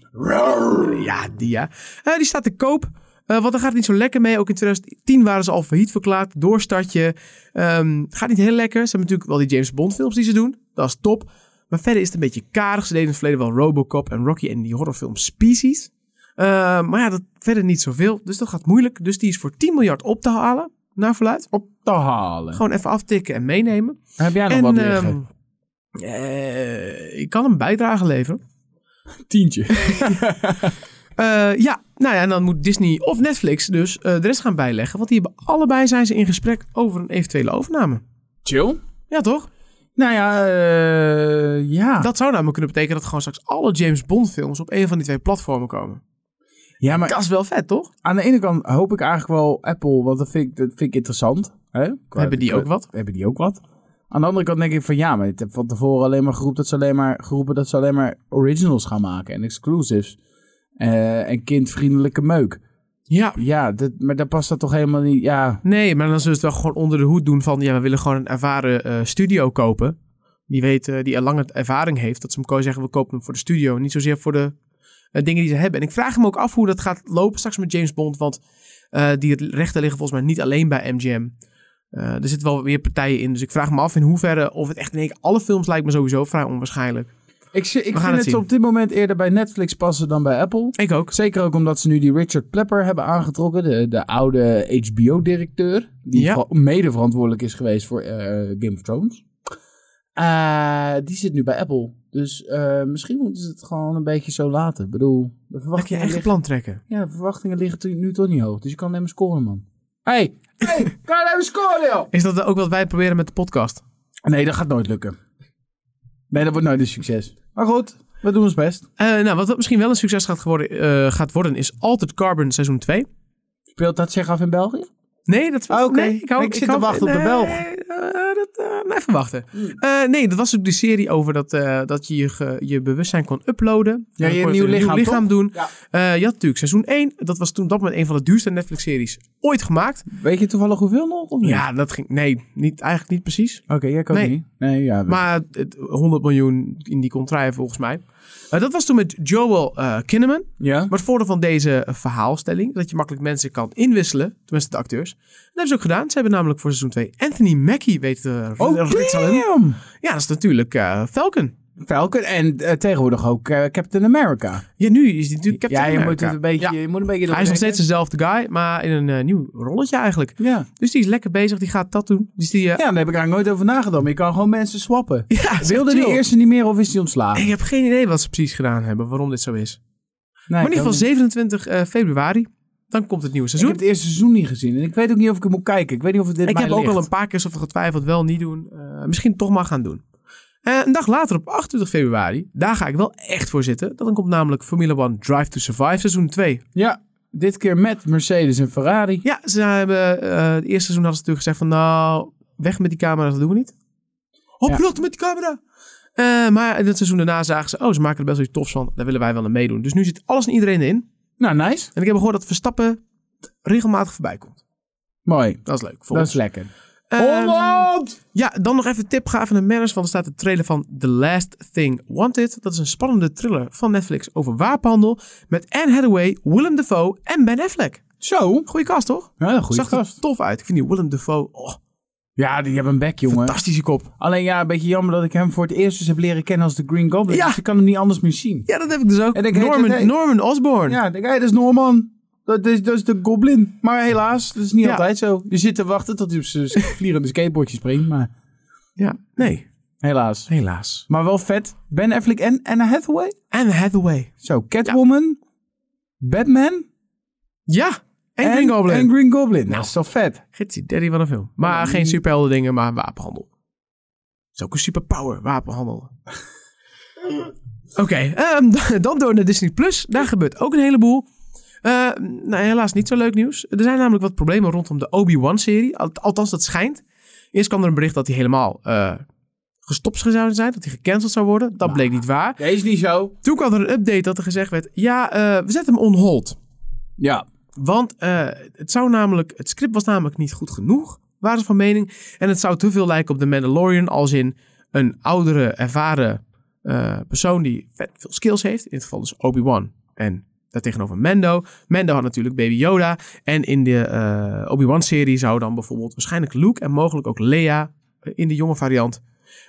Speaker 1: Ja, die ja. Eh, die staat te koop. Eh, want daar gaat het niet zo lekker mee. Ook in 2010 waren ze al failliet verklaard. Doorstartje. Ehm gaat niet heel lekker. Ze hebben natuurlijk wel die James Bond films die ze doen. Dat is top. Maar verder is het een beetje karig. Ze deden in het verleden wel Robocop en Rocky en die horrorfilm Species. Eh, maar ja, dat verder niet zoveel. Dus dat gaat moeilijk. Dus die is voor 10 miljard op te halen. Naar verluid.
Speaker 2: Op te halen.
Speaker 1: Gewoon even aftikken en meenemen.
Speaker 2: Heb jij nog
Speaker 1: en
Speaker 2: wat liggen?
Speaker 1: ehm, eh, ik kan een bijdrage leveren.
Speaker 2: Tientje.
Speaker 1: Eh, ja, nou ja, en dan moet Disney of Netflix dus eh, de rest gaan bijleggen. Want die hebben allebei zijn ze in gesprek over een eventuele overname.
Speaker 2: Chill.
Speaker 1: Ja, toch?
Speaker 2: Nou ja, eh, ja.
Speaker 1: Dat zou namelijk kunnen betekenen dat gewoon straks alle James Bond films op een van die twee platformen komen.
Speaker 2: ja, maar
Speaker 1: Dat is wel vet, toch?
Speaker 2: aan de ene kant hoop ik eigenlijk wel Apple, want dat vind ik, dat vind ik interessant. Hè? Qua-
Speaker 1: Hebben die
Speaker 2: qua-
Speaker 1: ook wat?
Speaker 2: Hebben die ook wat? Aan de andere kant denk ik van ja, maar ik heb van tevoren alleen maar geroepen dat ze alleen maar, geroepen dat ze alleen maar originals gaan maken en exclusives. Eh, en kindvriendelijke meuk.
Speaker 1: Ja.
Speaker 2: Ja, dat, maar daar past dat toch helemaal niet. Ja,
Speaker 1: Nee, maar dan zullen ze het wel gewoon onder de hoed doen van... ja, we willen gewoon een ervaren eh, studio kopen. Die weet, eh, die al lange ervaring heeft. Dat ze hem kunnen zeggen, we kopen hem voor de studio. en Niet zozeer voor de eh, dingen die ze hebben. En ik vraag me ook af hoe dat gaat lopen straks met James Bond. Want eh, die rechten liggen volgens mij niet alleen bij MGM. Eh, er zitten wel weer partijen in. Dus ik vraag me af in hoeverre of het echt in één keer... alle films lijkt me sowieso vrij onwaarschijnlijk.
Speaker 2: ik, zie- ik
Speaker 1: gaan
Speaker 2: vind
Speaker 1: het
Speaker 2: het,
Speaker 1: zien.
Speaker 2: op dit moment eerder bij Netflix passen dan bij Apple.
Speaker 1: Ik ook.
Speaker 2: Zeker ook omdat ze nu die Richard Plepper hebben aangetrokken, de, de oude HBO-directeur, die
Speaker 1: Ja.
Speaker 2: vooral mede verantwoordelijk is geweest voor eh, Game of Thrones. Eh, die zit nu bij Apple. Dus eh, misschien moeten ze het gewoon een beetje zo laten. Ik bedoel, de
Speaker 1: Mag je
Speaker 2: verwachtingen,
Speaker 1: eigen
Speaker 2: liggen,
Speaker 1: plan trekken?
Speaker 2: ja, de verwachtingen liggen tu- nu toch niet hoog. Dus je kan hem scoren, man. hey, hey, kan je hem scoren, joh?
Speaker 1: Is dat ook wat wij proberen met de podcast?
Speaker 2: Nee, dat gaat nooit lukken. Nee, dat wordt nooit een succes. Maar goed, we doen ons best.
Speaker 1: Eh, nou, wat, wat misschien wel een succes gaat, geworden, eh, gaat worden... is Altered Carbon seizoen 2.
Speaker 2: Speelt dat zich af in België?
Speaker 1: Nee, dat
Speaker 2: Ah, oké.
Speaker 1: nee, hou-
Speaker 2: Ik zit te
Speaker 1: hou-
Speaker 2: wachten op de
Speaker 1: nee,
Speaker 2: Belg. Hmm.
Speaker 1: eh, dat, eh, nou, even wachten. Eh, nee, dat was ook die serie over dat, eh, dat je je, ge- je bewustzijn kon uploaden.
Speaker 2: Ja,
Speaker 1: En dan
Speaker 2: je
Speaker 1: kon
Speaker 2: nieuw
Speaker 1: het in een
Speaker 2: lichaam, toch?
Speaker 1: doen.
Speaker 2: Ja.
Speaker 1: Eh, je had natuurlijk seizoen 1. Dat was toen op dat moment een van de duurste Netflix-series ooit gemaakt.
Speaker 2: Weet je toevallig hoeveel nog? Of niet?
Speaker 1: Ja, dat ging... Nee, niet, eigenlijk niet precies.
Speaker 2: Oké, jij kan
Speaker 1: Nee.
Speaker 2: niet. Nee, ja. we-
Speaker 1: Maar het, 100 miljoen in die kon draaien, volgens mij. Eh, dat was toen met Joel eh, Kinnaman.
Speaker 2: ja?
Speaker 1: Maar het voordeel van deze verhaalstelling, dat je makkelijk mensen kan inwisselen, tenminste de acteurs. Dat hebben ze ook gedaan. Ze hebben namelijk voor seizoen 2 Anthony Mackie weten
Speaker 2: Oh, damn!
Speaker 1: Ja, dat is natuurlijk eh, Falcon.
Speaker 2: Falcon en eh, tegenwoordig ook eh, Captain America.
Speaker 1: Ja, nu is die natuurlijk Captain
Speaker 2: ja, je moet
Speaker 1: America.
Speaker 2: het een beetje...
Speaker 1: Ja.
Speaker 2: Je moet een beetje
Speaker 1: Hij is nog
Speaker 2: doordenken.
Speaker 1: steeds dezelfde guy, maar in een eh, nieuw rolletje eigenlijk.
Speaker 2: Ja.
Speaker 1: Dus die is lekker bezig, die gaat dat doen. Dus die, eh,
Speaker 2: ja, daar heb ik eigenlijk nooit over nagedacht. maar Je kan gewoon mensen swappen.
Speaker 1: ja, is
Speaker 2: Wilde
Speaker 1: echt
Speaker 2: die
Speaker 1: chill.
Speaker 2: eerste niet meer of is die ontslagen?
Speaker 1: Ik heb geen idee wat ze precies gedaan hebben, waarom dit zo is.
Speaker 2: Nee,
Speaker 1: Maar in
Speaker 2: ik
Speaker 1: ieder
Speaker 2: ook
Speaker 1: geval 27 eh, februari Dan komt het nieuwe
Speaker 2: Ik
Speaker 1: seizoen.
Speaker 2: heb het eerste seizoen niet gezien. En ik weet ook niet of ik hem moet kijken. Ik weet niet of het dit
Speaker 1: Ik
Speaker 2: mij
Speaker 1: heb ook
Speaker 2: ligt.
Speaker 1: al een paar keer zoveel getwijfeld, wel niet doen. Eh, misschien toch maar gaan doen. Eh, een dag later, op 28 februari, daar ga ik wel echt voor zitten. Dan komt namelijk Formula One Drive to Survive seizoen 2.
Speaker 2: Ja, dit keer met Mercedes en Ferrari.
Speaker 1: Ja, ze hebben, eh het eerste seizoen hadden ze natuurlijk gezegd van nou, weg met die camera's, dat doen we niet. Op
Speaker 2: Ja.
Speaker 1: met die camera! Eh, maar in het seizoen daarna zagen ze, oh, ze maken er best wel iets tofs van. Daar willen wij wel aan meedoen. Dus nu zit alles en iedereen in.
Speaker 2: Nou, nice.
Speaker 1: En ik heb gehoord dat Verstappen regelmatig voorbij komt.
Speaker 2: Mooi.
Speaker 1: Dat is leuk. voor
Speaker 2: Dat
Speaker 1: ons.
Speaker 2: is lekker. Ehm,
Speaker 1: Ehm,
Speaker 2: Holland!
Speaker 1: Ja, dan nog even tip. Ga even naar Manners, want er staat de trailer van The Last Thing Wanted. Dat is een spannende thriller van Netflix over wapenhandel. Met Anne Hathaway, Willem Dafoe en Ben Affleck.
Speaker 2: Zo.
Speaker 1: Goeie kast, toch?
Speaker 2: Ja, goed.
Speaker 1: Zag er tof uit. Ik vind die Willem Dafoe, oh,
Speaker 2: Ja, die hebben een bek, jongen.
Speaker 1: fantastische kop.
Speaker 2: Alleen ja, een beetje jammer dat ik hem voor het eerst eens heb leren kennen als de Green Goblin.
Speaker 1: Ja.
Speaker 2: Dus ik kan hem niet anders meer zien.
Speaker 1: Ja, dat heb ik dus ook.
Speaker 2: En ik heet
Speaker 1: Norman,
Speaker 2: het, hey.
Speaker 1: Norman Osborn.
Speaker 2: Ja, denk, hey, dat is Norman. Dat is, dat is de Goblin. Maar helaas, dat is niet
Speaker 1: Ja.
Speaker 2: altijd zo. Je zit te wachten tot hij op zijn vliegende skateboardje springt, maar
Speaker 1: Nee,
Speaker 2: helaas.
Speaker 1: helaas.
Speaker 2: Maar wel vet. Ben Affleck en Anna Hathaway.
Speaker 1: Anne Hathaway.
Speaker 2: Zo, Catwoman, Batman
Speaker 1: Ja, en, Green Goblin.
Speaker 2: en Green Goblin. Nou, dat is toch vet.
Speaker 1: Gidsie, daddy van een film. Maar
Speaker 2: Mm.
Speaker 1: geen superhelden dingen, maar wapenhandel. Dat is ook een superpower, wapenhandel. Oké, ehm, dan door naar Disney+. Plus. Daar gebeurt ook een heleboel. Eh, nou, helaas niet zo leuk nieuws. Er zijn namelijk wat problemen rondom de Obi-Wan-serie. Al- Althans, dat schijnt. Eerst kwam er een bericht dat hij helemaal eh, gestopt zou zijn. Dat hij gecanceld zou worden. Dat bleek niet waar.
Speaker 2: Deze is niet zo.
Speaker 1: Toen kwam er een update dat er gezegd werd... Ja, eh, we zetten hem on hold.
Speaker 2: Ja.
Speaker 1: Want eh, het, zou namelijk, het script was namelijk niet goed genoeg, waren ze van mening. En het zou te veel lijken op The Mandalorian, als in een oudere, ervaren eh, persoon die vet veel skills heeft. In dit geval dus Obi-Wan. En daartegenover Mando. Mando had natuurlijk Baby Yoda. En in de eh, Obi-Wan-serie zou dan bijvoorbeeld waarschijnlijk Luke en mogelijk ook Leia eh, in de jonge variant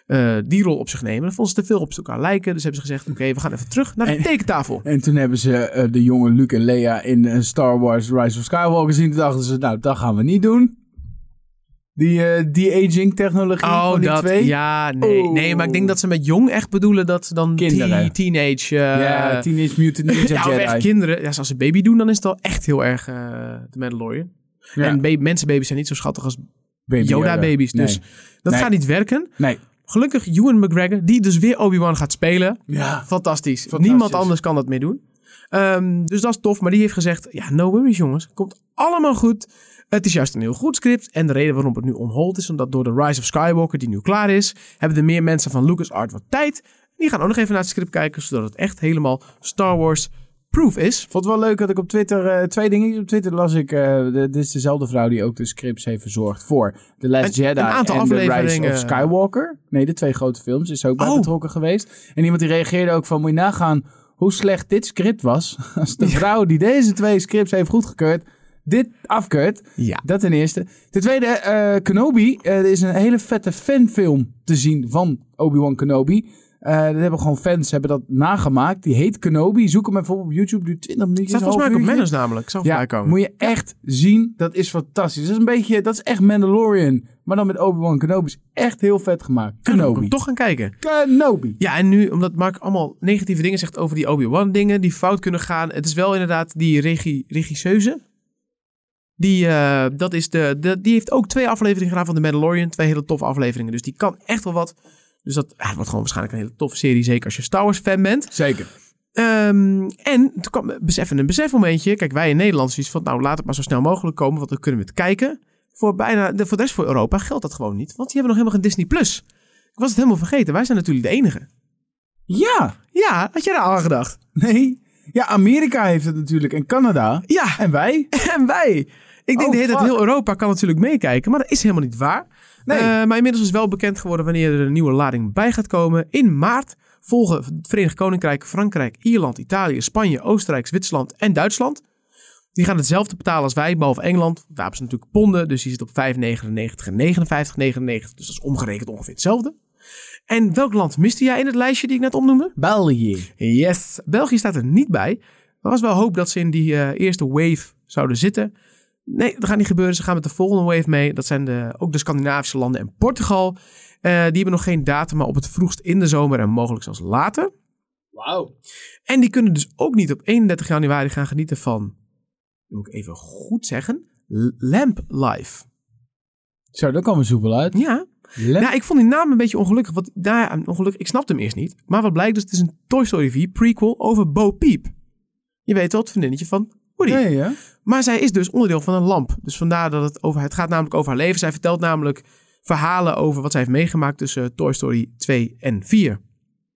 Speaker 1: eh, die rol op zich nemen. Dat vonden ze te veel op elkaar lijken. Dus hebben ze gezegd, oké, we gaan even terug naar de
Speaker 2: En-
Speaker 1: tekentafel.
Speaker 2: En toen hebben ze eh, de jonge Luke en Leia in eh, Star Wars Rise of Skywalker gezien. Toen dachten ze, nou, dat gaan we niet doen. Die, eh, de-aging technologie van die
Speaker 1: Oh, dat,
Speaker 2: twee.
Speaker 1: Ja, nee.
Speaker 2: Oh.
Speaker 1: Nee, maar ik denk dat ze met jong echt bedoelen dat ze dan
Speaker 2: Kinderen.
Speaker 1: teen- teenage... eh,
Speaker 2: Ja, Teenage Mutant Ninja
Speaker 1: ja, of
Speaker 2: Jedi.
Speaker 1: echt kinderen. Ja, als ze baby doen, dan is het al echt heel erg eh de Mandalorian.
Speaker 2: Ja.
Speaker 1: En ba- mensenbaby's zijn niet zo schattig als
Speaker 2: Baby
Speaker 1: Yoda-baby's.
Speaker 2: Nee.
Speaker 1: Dus dat
Speaker 2: Nee.
Speaker 1: gaat niet werken.
Speaker 2: Nee.
Speaker 1: Gelukkig Ewan McGregor, die dus weer Obi-Wan gaat spelen.
Speaker 2: Ja.
Speaker 1: Fantastisch.
Speaker 2: Fantastisch.
Speaker 1: Niemand anders kan dat meer doen. Ehm, dus dat is tof. Maar die heeft gezegd, ja, no worries jongens. Komt allemaal goed. Het is juist een heel goed script. En de reden waarom het nu on hold is, omdat door de Rise of Skywalker, die nu klaar is, hebben er meer mensen van LucasArts wat tijd. Die gaan ook nog even naar het script kijken, zodat het echt helemaal Star Wars proof is.
Speaker 2: Vond het wel leuk dat ik op Twitter eh, twee dingen. Op Twitter las ik. eh, de- dit is dezelfde vrouw die ook de scripts heeft verzorgd voor The Last
Speaker 1: Een-
Speaker 2: Jedi
Speaker 1: een aantal
Speaker 2: en The Rise
Speaker 1: afleveringen.
Speaker 2: of Skywalker. Nee, de twee grote films is ook bij
Speaker 1: Oh.
Speaker 2: betrokken geweest. En iemand die reageerde ook van: moet je nagaan hoe slecht dit script was. Als de vrouw die deze twee scripts heeft goedgekeurd, dit afkeurt.
Speaker 1: Ja.
Speaker 2: Dat ten eerste. Ten tweede, eh, Kenobi. eh, er is een hele vette fanfilm te zien van Obi-Wan Kenobi. Eh dat hebben gewoon fans hebben dat nagemaakt. Die heet Kenobi. Zoek hem even op op YouTube. Duurt 20 minuten.
Speaker 1: Het staat volgens mij ook op Manners namelijk. Zou
Speaker 2: Ja,
Speaker 1: voorbij komen.
Speaker 2: moet je echt zien. Dat is fantastisch. Dat is een beetje, dat is echt Mandalorian. Maar dan met Obi-Wan Kenobi. Is echt heel vet gemaakt.
Speaker 1: Ja, dan moet ik
Speaker 2: Kenobi.
Speaker 1: hem toch gaan kijken.
Speaker 2: Kenobi.
Speaker 1: Ja, en nu, omdat Mark allemaal negatieve dingen zegt over die Obi-Wan dingen, die fout kunnen gaan. Het is wel inderdaad die regie, regisseuse. Die, eh, dat is de, de, die heeft ook twee afleveringen gedaan van The Mandalorian. Twee hele toffe afleveringen. Dus die kan echt wel wat. Dus dat ah, het wordt gewoon waarschijnlijk een hele toffe serie. Zeker als je Star Wars fan bent.
Speaker 2: Zeker.
Speaker 1: Ehm, en toen kwam beseffen een besefmomentje. Kijk, wij in Nederland zoiets van, nou laat het maar zo snel mogelijk komen, want dan kunnen we het kijken. Voor, bijna, de, voor de rest van Europa geldt dat gewoon niet, want die hebben nog helemaal geen Disney+. Plus. Ik was het helemaal vergeten. Wij zijn natuurlijk de enige.
Speaker 2: Ja.
Speaker 1: Ja, had jij daar al aan gedacht?
Speaker 2: Nee. Ja, Amerika heeft het natuurlijk. En Canada.
Speaker 1: Ja,
Speaker 2: En wij.
Speaker 1: en wij. Ik denk
Speaker 2: Oh,
Speaker 1: de hele tijd,
Speaker 2: fuck.
Speaker 1: heel Europa kan natuurlijk meekijken, maar dat is helemaal niet waar.
Speaker 2: Nee.
Speaker 1: Eh, maar inmiddels is wel bekend geworden wanneer er een nieuwe lading bij gaat komen. In maart volgen het Verenigd Koninkrijk, Frankrijk, Ierland, Italië, Spanje, Oostenrijk, Zwitserland en Duitsland. Die gaan hetzelfde betalen als wij, behalve Engeland. Daar hebben ze natuurlijk ponden, dus die zit op 5,99 en 59,99. Dus dat is omgerekend ongeveer hetzelfde. En welk land miste jij in het lijstje die ik net opnoemde?
Speaker 2: België.
Speaker 1: Yes. België staat er niet bij. Er was wel hoop dat ze in die eh, eerste wave zouden zitten. Nee, dat gaat niet gebeuren. Ze gaan met de volgende wave mee. Dat zijn de, ook de Scandinavische landen en Portugal. Eh, die hebben nog geen datum, maar op het vroegst in de zomer en mogelijk zelfs later.
Speaker 2: Wauw.
Speaker 1: En die kunnen dus ook niet op 31 januari gaan genieten van dat moet ik even goed zeggen, L- Lamp Life.
Speaker 2: Zo, dat kwam er soepel uit.
Speaker 1: Ja, nou, ik vond die naam een beetje ongelukkig. Want daar, ongelukkig, ik snapte hem eerst niet. Maar wat blijkt dus, het is een Toy Story 4 prequel over Bo Peep. Je weet wel, het vriendinnetje van Woody.
Speaker 2: Nee, ja.
Speaker 1: Maar zij is dus onderdeel van een lamp. Dus vandaar dat het over... Het gaat namelijk over haar leven. Zij vertelt namelijk verhalen over wat zij heeft meegemaakt tussen eh, Toy Story 2 en 4.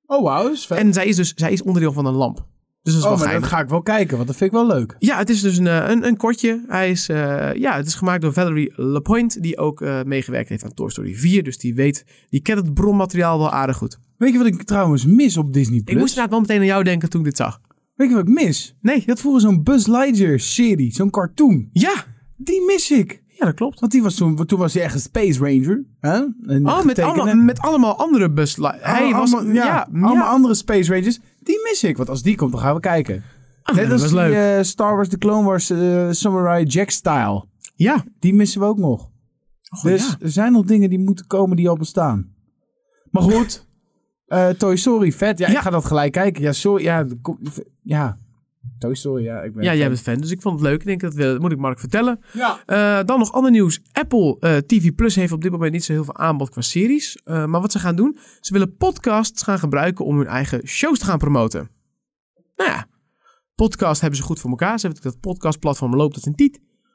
Speaker 2: Oh, wauw, dat is vet.
Speaker 1: En zij is dus zij is onderdeel van een lamp. Dus dat is
Speaker 2: oh,
Speaker 1: wel
Speaker 2: maar dat
Speaker 1: geinig.
Speaker 2: ga ik wel kijken, want dat vind ik wel leuk.
Speaker 1: Ja, het is dus een, eh, een, een kortje. Hij is, eh, ja, het is gemaakt door Valerie Lapointe, die ook eh, meegewerkt heeft aan Toy Story 4. Dus die weet, die kent het bronmateriaal wel aardig goed.
Speaker 2: Weet je wat ik trouwens mis op Disney+.
Speaker 1: Ik moest
Speaker 2: Plus?
Speaker 1: inderdaad wel meteen aan jou denken toen ik dit zag.
Speaker 2: Weet je wat ik mis?
Speaker 1: Nee,
Speaker 2: Je had vroeger zo'n Buzz Lightyear serie, zo'n cartoon.
Speaker 1: ja.
Speaker 2: Die mis ik.
Speaker 1: Ja, dat klopt.
Speaker 2: Want die was toen, toen was hij echt een Space Ranger. Hè? Een
Speaker 1: Oh, met
Speaker 2: getekende.
Speaker 1: allemaal, met allemaal andere buslijnen. Hij was...
Speaker 2: allemaal, ja, allemaal andere Space Rangers. Die mis ik, want als die komt, dan gaan we kijken.
Speaker 1: nee,
Speaker 2: Net
Speaker 1: Ah, dat
Speaker 2: als
Speaker 1: was
Speaker 2: die,
Speaker 1: leuk.
Speaker 2: eh, Star Wars The Clone Wars eh, Samurai Jack style.
Speaker 1: Ja.
Speaker 2: Die missen we ook nog. dus
Speaker 1: Oh, ja.
Speaker 2: er zijn nog dingen die moeten komen die al bestaan. Maar goed, eh, Toy Story, vet. Ja, ik
Speaker 1: Ja.
Speaker 2: ga dat gelijk kijken. Ja, sorry. Ja, de ko- ja. Toy Story, ja. Ik ben
Speaker 1: ja, jij bent fan, dus ik vond het leuk. Ik denk, dat, wil- dat moet ik Mark vertellen. Eh, dan nog ander nieuws. Apple eh, TV Plus heeft op dit moment niet zo heel veel aanbod qua series. Eh, maar wat ze gaan doen, ze willen podcasts gaan gebruiken om hun eigen shows te gaan promoten. Nou ja, podcast hebben ze goed voor elkaar. Ze hebben dat podcastplatform loopt dat een tiet.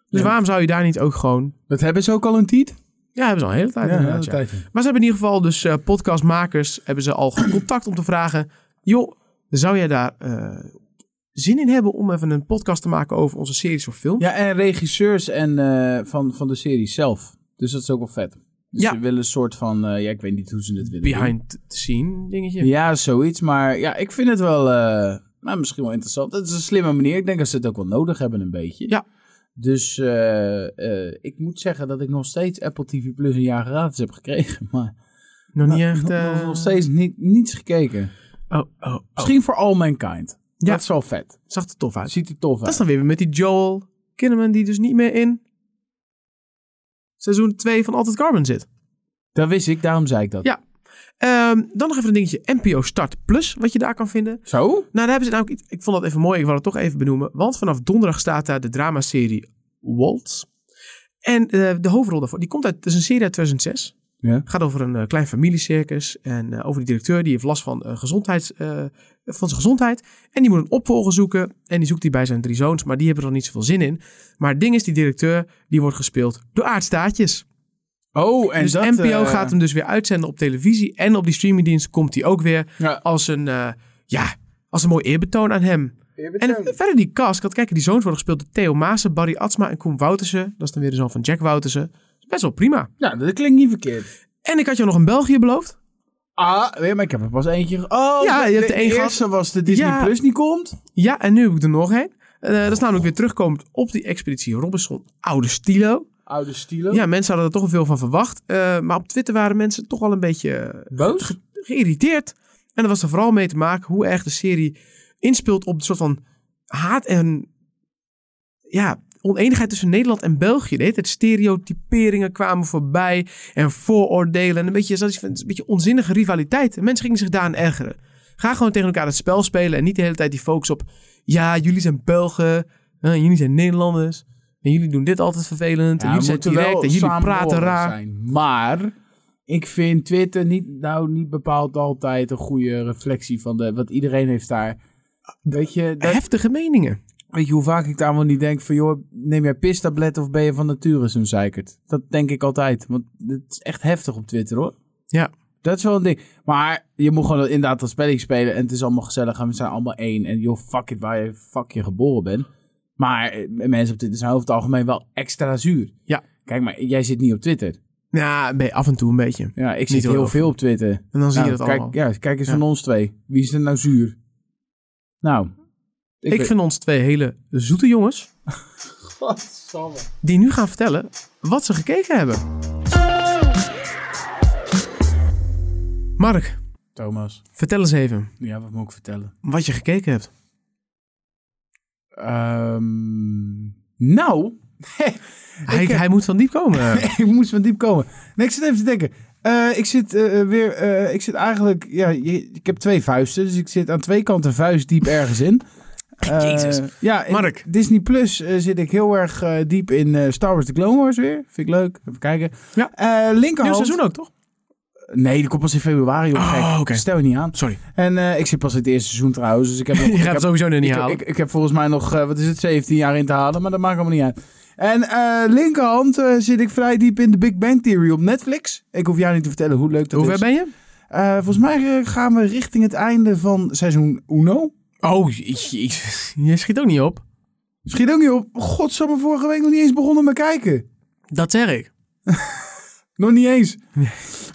Speaker 1: Dus
Speaker 2: Ja.
Speaker 1: waarom zou je daar niet ook gewoon...
Speaker 2: Dat hebben ze ook al een tiet?
Speaker 1: Ja, hebben ze al een hele tijd inderdaad, ja. Maar ze hebben in ieder geval dus eh, podcastmakers hebben ze al contact om te vragen. Joh, zou jij daar eh, zin in hebben om even een podcast te maken over onze series of film?
Speaker 2: Ja, en regisseurs en, eh, van, van de serie zelf. Dus dat is ook wel vet. Dus
Speaker 1: Ja.
Speaker 2: ze willen een soort van, eh, ja, ik weet niet hoe ze het willen doen.
Speaker 1: Behind the scene dingetje.
Speaker 2: Ja, zoiets. Maar ja, ik vind het wel, eh, nou, misschien wel interessant. Het is een slimme manier. Ik denk dat ze het ook wel nodig hebben een beetje.
Speaker 1: Ja.
Speaker 2: Dus eh, eh, ik moet zeggen dat ik nog steeds Apple TV Plus een jaar gratis heb gekregen. Maar
Speaker 1: Nog niet
Speaker 2: Nou,
Speaker 1: echt.
Speaker 2: nog-
Speaker 1: eh,
Speaker 2: nog, nog steeds niet, niets gekeken.
Speaker 1: Oh, oh, oh.
Speaker 2: Misschien voor All Mankind.
Speaker 1: Ja.
Speaker 2: Dat is wel vet.
Speaker 1: Zag er tof uit.
Speaker 2: Ziet er tof
Speaker 1: Dat is
Speaker 2: uit.
Speaker 1: dan weer met die Joel Kinnaman die dus niet meer in seizoen 2 van Altijd Carbon zit.
Speaker 2: Dat wist ik, daarom zei ik dat.
Speaker 1: Ja. Ehm, dan nog even een dingetje NPO Start Plus, wat je daar kan vinden.
Speaker 2: Zo?
Speaker 1: Nou, daar hebben ze namelijk iets. Ik vond dat even mooi. Ik wil het toch even benoemen. Want vanaf donderdag staat daar de dramaserie Waltz. En eh, de hoofdrol daarvoor, die komt uit. Het is een serie uit 2006.
Speaker 2: Ja.
Speaker 1: Gaat over een eh, klein familiecircus. En eh, over die directeur die heeft last van, eh, gezondheids, eh, van zijn gezondheid. En die moet een opvolger zoeken. En die zoekt die bij zijn drie zoons. Maar die hebben er nog niet zoveel zin in. Maar het ding is, die directeur die wordt gespeeld door aardstaatjes.
Speaker 2: Oh, en
Speaker 1: dus
Speaker 2: dat...
Speaker 1: NPO
Speaker 2: eh,
Speaker 1: gaat hem dus weer uitzenden op televisie. En op die streamingdienst komt hij ook weer
Speaker 2: Ja.
Speaker 1: als een, eh, ja, als een mooi eerbetoon aan hem. En verder die cast, ik had kijken, die zoons worden gespeeld door Theo Maassen, Barry Atsma en Koen Woutersen. Dat is dan weer de zoon van Jack Woutersen. Best wel prima.
Speaker 2: Ja, dat klinkt niet verkeerd.
Speaker 1: En ik had jou nog een België beloofd.
Speaker 2: Ah, ja, maar ik heb er pas eentje... ge- Oh,
Speaker 1: Ja,
Speaker 2: de,
Speaker 1: je hebt
Speaker 2: de
Speaker 1: er één
Speaker 2: eerste was de Disney
Speaker 1: Ja.
Speaker 2: Plus die komt.
Speaker 1: Ja, en nu heb ik er nog één. Eh, dat is namelijk weer terugkomend op die expeditie Robinson Oude Stilo.
Speaker 2: Oude stilo.
Speaker 1: Ja, mensen hadden er toch wel veel van verwacht. Eh, maar op Twitter waren mensen toch wel een beetje eh,
Speaker 2: Boos?
Speaker 1: geïrriteerd. En dat was er vooral mee te maken hoe erg de serie inspeelt op een soort van haat en ja, oneenigheid tussen Nederland en België. De hele tijd stereotyperingen kwamen voorbij en vooroordelen. En een beetje, dat is een beetje onzinnige rivaliteit. En mensen gingen zich daaraan ergeren. Ga gewoon tegen elkaar het spel spelen en niet de hele tijd die focus op... Ja, jullie zijn Belgen, eh, jullie zijn Nederlanders. En jullie doen dit altijd vervelend. en
Speaker 2: Ja,
Speaker 1: jullie
Speaker 2: we
Speaker 1: zijn
Speaker 2: moeten
Speaker 1: direct
Speaker 2: wel
Speaker 1: en jullie praten
Speaker 2: samenhorend
Speaker 1: raar.
Speaker 2: Zijn. Maar ik vind Twitter niet, nou, niet bepaald altijd een goede reflectie van de, wat iedereen heeft daar. Weet je, dat-
Speaker 1: Heftige meningen.
Speaker 2: weet je hoe vaak ik daar wel niet denk van... joh, neem jij pistablet of ben je van nature zo'n zeikert? Dat denk ik altijd, want het is echt heftig op Twitter hoor.
Speaker 1: Ja.
Speaker 2: Dat is wel een ding. Maar je moet gewoon inderdaad dat spelletje spelen en het is allemaal gezellig en we zijn allemaal één. En joh, fuck it, waar je fuck je geboren bent. Maar eh, mensen op Twitter zijn over het algemeen wel extra zuur.
Speaker 1: Ja.
Speaker 2: Kijk maar, jij zit niet op Twitter.
Speaker 1: Ja, ben je af en toe een beetje.
Speaker 2: Ja, ik zit
Speaker 1: heel
Speaker 2: heel
Speaker 1: erg.
Speaker 2: veel op Twitter.
Speaker 1: En dan zie
Speaker 2: Nou,
Speaker 1: je dat
Speaker 2: kijk,
Speaker 1: allemaal.
Speaker 2: Ja, kijk eens
Speaker 1: Ja.
Speaker 2: van ons twee. Wie is er nou zuur? Nou.
Speaker 1: Ik,
Speaker 2: weet-
Speaker 1: vind ons twee hele zoete jongens die nu gaan vertellen wat ze gekeken hebben. Mark,
Speaker 2: Thomas,
Speaker 1: vertel eens even
Speaker 2: ja, wat moet ik vertellen?
Speaker 1: wat je gekeken hebt.
Speaker 2: Ehm, nou,
Speaker 1: Hij,
Speaker 2: heb-
Speaker 1: hij moet van diep komen.
Speaker 2: ik moest van diep komen. Nee, ik zit even te denken. Eh, ik zit eh, eh, weer, eh, ik zit eigenlijk, ja, je- ik heb twee vuisten, dus ik zit aan twee kanten vuist diep ergens in. Eh,
Speaker 1: Jezus.
Speaker 2: ja, in
Speaker 1: Mark.
Speaker 2: Disney Plus eh, zit ik heel erg eh, diep in eh, Star Wars The Clone Wars weer. Vind ik leuk. Even kijken.
Speaker 1: Ja.
Speaker 2: Eh,
Speaker 1: Nieuw
Speaker 2: linkerhand.
Speaker 1: seizoen ook, toch?
Speaker 2: Nee, die komt pas in februari. Joh,
Speaker 1: Oh,
Speaker 2: gek.
Speaker 1: oké.
Speaker 2: Stel je niet aan.
Speaker 1: Sorry.
Speaker 2: En eh, ik zit pas in het eerste seizoen trouwens. Dus ik heb nog,
Speaker 1: Je
Speaker 2: ik
Speaker 1: gaat het
Speaker 2: heb-
Speaker 1: sowieso nu niet
Speaker 2: ik,
Speaker 1: halen.
Speaker 2: ik, ik heb volgens mij nog, eh, wat is het, 17 jaar in te halen, maar dat maakt allemaal niet uit. En eh, linkerhand eh, zit ik vrij diep in de Big Bang Theory op Netflix. Ik hoef jou niet te vertellen hoe leuk dat
Speaker 1: Hoe ver
Speaker 2: is.
Speaker 1: ben je?
Speaker 2: Eh, volgens mij eh, gaan we richting het einde van seizoen Uno.
Speaker 1: Oh, jezus. Je schiet ook niet op.
Speaker 2: Schiet ook niet op. Godsamme, vorige week nog niet eens begonnen met kijken.
Speaker 1: Dat zeg ik.
Speaker 2: Nog niet eens.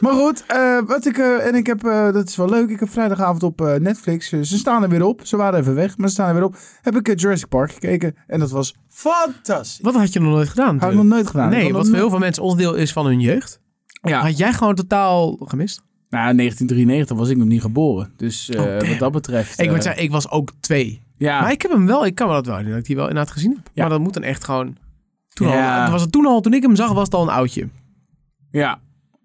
Speaker 2: Maar goed, eh, wat ik, eh, en ik heb, eh, dat is wel leuk, ik heb vrijdagavond op eh, Netflix, eh, ze staan er weer op. Ze waren even weg, maar ze staan er weer op. Heb ik eh, Jurassic Park gekeken en dat was fantastisch.
Speaker 1: Wat had je nog nooit gedaan?
Speaker 2: Had ik nog nooit gedaan. Ik
Speaker 1: nee,
Speaker 2: had nog
Speaker 1: wat voor
Speaker 2: nooit-
Speaker 1: heel veel mensen onderdeel is van hun jeugd.
Speaker 2: Ja.
Speaker 1: Had jij gewoon totaal gemist?
Speaker 2: Nou, 1993 was ik nog niet geboren. Dus eh,
Speaker 1: Oh, damn.
Speaker 2: wat dat betreft.
Speaker 1: ik
Speaker 2: eh,
Speaker 1: moet zeggen, ik was ook twee.
Speaker 2: ja.
Speaker 1: Maar ik heb hem wel, ik kan me dat wel herinneren, dat ik die wel inderdaad gezien heb.
Speaker 2: Ah. Ja.
Speaker 1: Maar dat moet dan echt gewoon... Toen
Speaker 2: Ja.
Speaker 1: al, was het toen al, toen ik hem zag, was het al een oudje.
Speaker 2: ja.